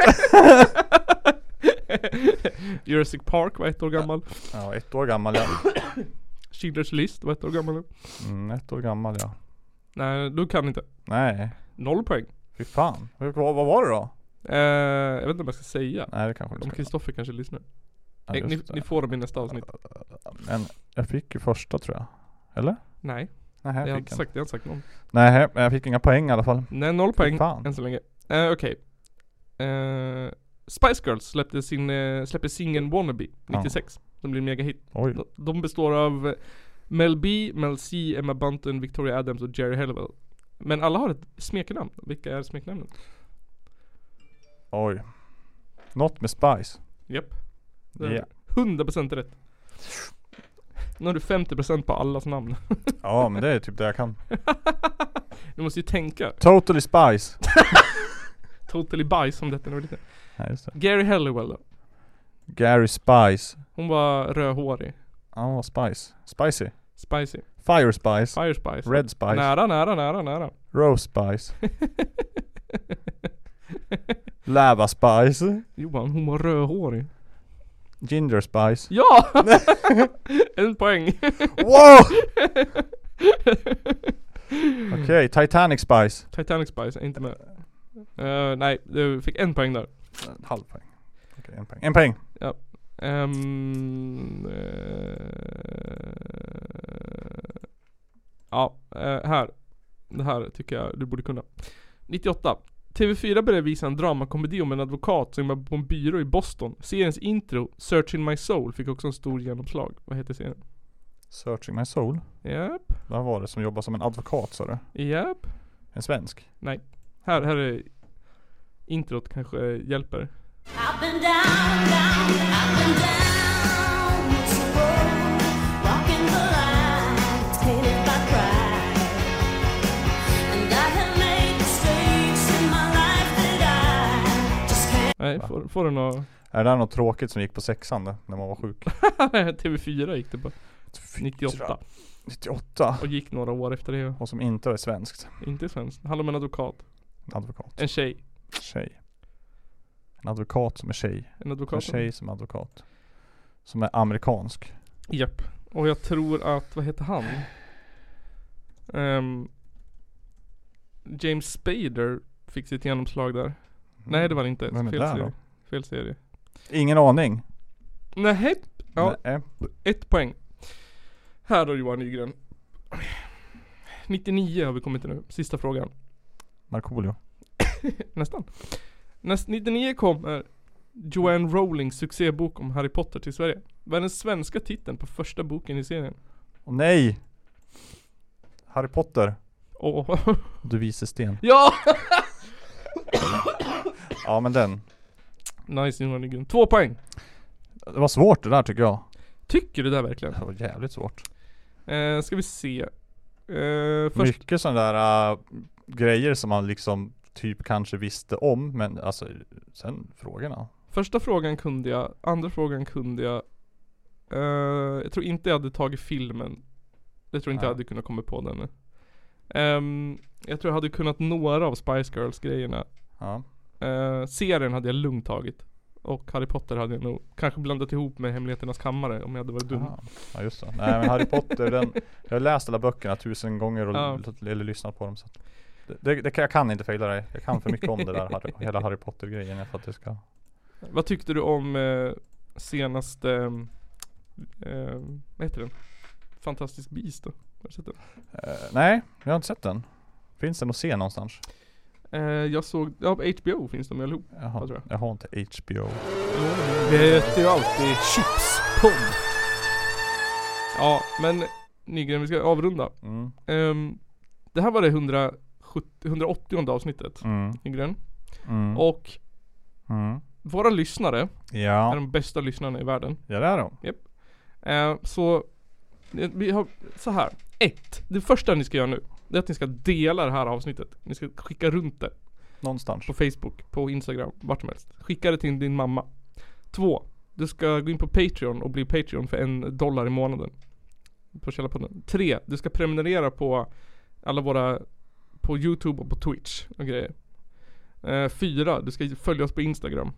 B: Jurassic Park var ett år gammal.
A: ja, ett år gammal ja.
B: Schindler's list var ett år gammal.
A: Mm, ett år gammal ja.
B: Nej, du kan inte.
A: Nej.
B: Noll poäng.
A: Fy fan. Vad, vad vad var det då?
B: Eh, jag vet inte om jag ska säga.
A: Nej, det kanske du
B: Om
A: ska.
B: Kristoffer kanske lyssnar.
A: Ja,
B: Eh, ni,
A: just
B: ni får dem i nästa avsnitt.
A: Men jag fick ju första tror jag. Eller?
B: Nej.
A: Nej,
B: jag,
A: jag
B: har
A: fick
B: inte
A: en.
B: sagt, jag har inte sagt någon.
A: Nej, men jag fick inga poäng i alla fall.
B: Nej, noll poäng
A: fan.
B: än så länge. Eh, Okej. Eh, Spice Girls släppte sin, eh, släpper singeln Wannabe 96. Som blir en megahit.
A: Oj.
B: De, de består av eh, Mel B, Mel C, Emma Bunton, Victoria Adams och Jerry Halliwell. Men alla har ett smeknamn. Vilka är smeknamnen?
A: Oj. Något med Spice.
B: Japp. Det är
A: Ja.
B: 100% rätt. Nu har du 50% på allas namn.
A: Ja, men det är typ det jag kan.
B: Du måste ju tänka.
A: Totally Spice.
B: Totally bajs som detta när jag var liten.
A: Ja, just det.
B: Gary Halliwell då.
A: Gary Spice.
B: Hon var rödhårig.
A: Ja, hon var Spice. Spicy.
B: Spicy.
A: Fire Spice.
B: Fire Spice.
A: Red Spice.
B: Nära, nära, nära, nära.
A: Rose Spice. Lava Spice.
B: Johan, hon var rödhårig.
A: Ginger Spice.
B: Ja! en poäng.
A: Wow! Okej, Titanic Spice.
B: Titanic Spice är inte med. Eh, nej, du fick en poäng där.
A: En halv poäng. Okej, en poäng. En poäng.
B: Ja. Ehm, eh, ja, eh, här. Det här tycker jag du borde kunna. 98. TV4 började visa en dramakomedi om en advokat som jobbar på en byrå i Boston. Seriens intro, Searching My Soul, fick också en stor genomslag. Vad heter serien?
A: Searching my soul.
B: Japp.
A: Vad var det som jobbar som en advokat sa du?
B: Japp.
A: En svensk?
B: Nej. Här, här är introt kanske hjälper. Nej, får, får du något?
A: Är det där något tråkigt som gick på sexan då, när man var sjuk?
B: TV4 gick det på. 98.
A: 98?
B: Och gick några år efter det.
A: Och som inte är svenskt.
B: Inte svenskt. Det handlar om en advokat.
A: En advokat.
B: En tjej.
A: Tjej. En advokat som är tjej.
B: En advokat
A: En
B: som-
A: tjej som är advokat. Som är amerikansk.
B: Japp. Och jag tror att, vad heter han? Ehm, James Spader fick sitt genomslag där. Nej det var det inte.
A: Mm. Vem är
B: Fel
A: det här
B: serie.
A: då?
B: Fel serie.
A: Ingen aning.
B: Nej. Ja.
A: Nej. eh,
B: Ett poäng. Här då Johan Nygren. 99 har vi kommit till nu. Sista frågan.
A: Markoolio.
B: Nästan. Näst, 99 kommer Joanne Rowlings succébok om Harry Potter till Sverige. Vad är den svenska titeln på första boken i serien?
A: Åh nej! Harry Potter.
B: Åh.
A: Du viser sten.
B: Ja!
A: Ja men den.
B: nice Johan Nygren. Två poäng.
A: Det var svårt det där tycker jag.
B: Tycker du det verkligen?
A: Det var jävligt svårt.
B: Eh, ska vi se. Eh, först,
A: Mycket sådana där äh, grejer som man liksom typ kanske visste om men alltså sen frågorna.
B: första frågan kunde jag, andra frågan kunde jag. Eh, jag tror inte jag hade tagit filmen. Jag tror inte jag
A: Nej.
B: hade kunnat komma på den. Ehm, jag tror jag hade kunnat några av Spice Girls grejerna.
A: Ja.
B: Eh, serien hade jag lugnt tagit. Och Harry Potter hade jag nog kanske blandat ihop med Hemligheternas kammare om jag hade varit dum.
A: Aha. Ja just det. Nej men Harry Potter den, jag har läst alla böckerna tusen gånger och
B: Ja.
A: l- eller lyssnat på dem så att det, det, det, kan- jag kan inte fejla dig. Jag kan för mycket om det där Harry, hela Harry Potter grejen för att det ska
B: Vad tyckte du om eh, senaste, eh, vad heter den? Fantastisk Beast då? Har du sett den?
A: Eh, Nej, jag har inte sett den. Finns den att se någonstans?
B: Eh, jag såg, ja på HBO finns de ju allihop.
A: Jaha, jag, har inte HBO.
B: Det heter ju alltid Chipspodd. Ja, men Nygren vi ska avrunda.
A: Mm.
B: Ehm, det här var det 170, 180 avsnittet
A: Mm.
B: Nygren.
A: Mm.
B: Och
A: Mm.
B: våra lyssnare
A: Ja.
B: är de bästa lyssnarna i världen.
A: Ja det är de.
B: Japp. Eh, så eh, vi har så här. Ett. Det första ni ska göra nu. Det är att ni ska dela det här avsnittet. Ni ska skicka runt det.
A: Någonstans.
B: På Facebook, på Instagram, vart som helst. Skicka det till din mamma. Två. Du ska gå in på Patreon och bli Patreon för en dollar i månaden. På Källarpodden. Tre. Du ska prenumerera på alla våra, på YouTube och på Twitch och grejer. Eh, fyra. Du ska följa oss på Instagram.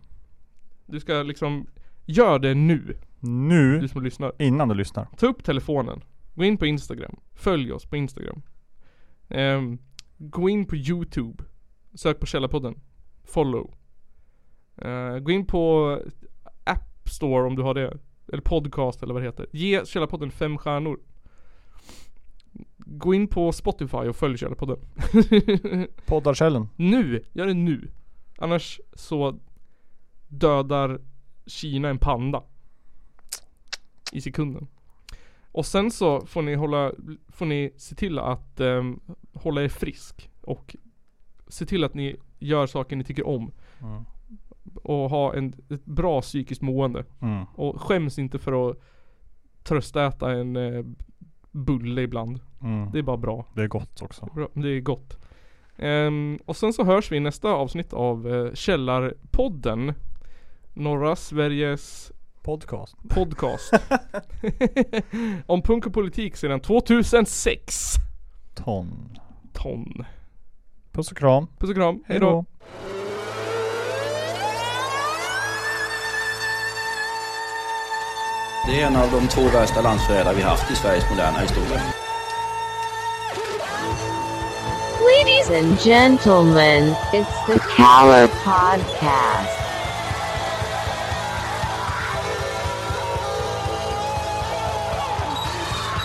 B: Du ska liksom, gör det nu.
A: Nu,
B: Du som lyssnar.
A: innan du lyssnar.
B: Ta upp telefonen. Gå in på Instagram. Följ oss på Instagram. Ehm, gå in på YouTube. Sök på Källarpodden. Follow. Eh, gå in på App Store om du har det. Eller podcast eller vad det heter. Ge Källarpodden fem stjärnor. Gå in på Spotify och följ Källarpodden.
A: Poddarkällen.
B: Nu! Gör det nu. Annars så dödar Kina en panda. I sekunden. Och sen så får ni hålla, får ni se till att ehm, hålla er frisk. Och se till att ni gör saker ni tycker om.
A: Mm.
B: Och ha en, ett bra psykiskt mående.
A: Mm.
B: Och skäms inte för att tröstäta en eh, bulle ibland.
A: Mm.
B: Det är bara bra.
A: Det är gott också.
B: Bra, det är gott. Ehm, och sen så hörs vi i nästa avsnitt av eh, Källarpodden. Norra Sveriges
A: Podcast.
B: podcast. Om punk och politik sedan 2006.
A: Ton.
B: Ton.
A: Puss och kram.
B: Puss och kram.
A: Hej då.
C: Det är en av de två värsta landsförrädare vi haft i Sveriges moderna historia.
D: Wait Ladies and gentlemen, it's the Caller Podcast.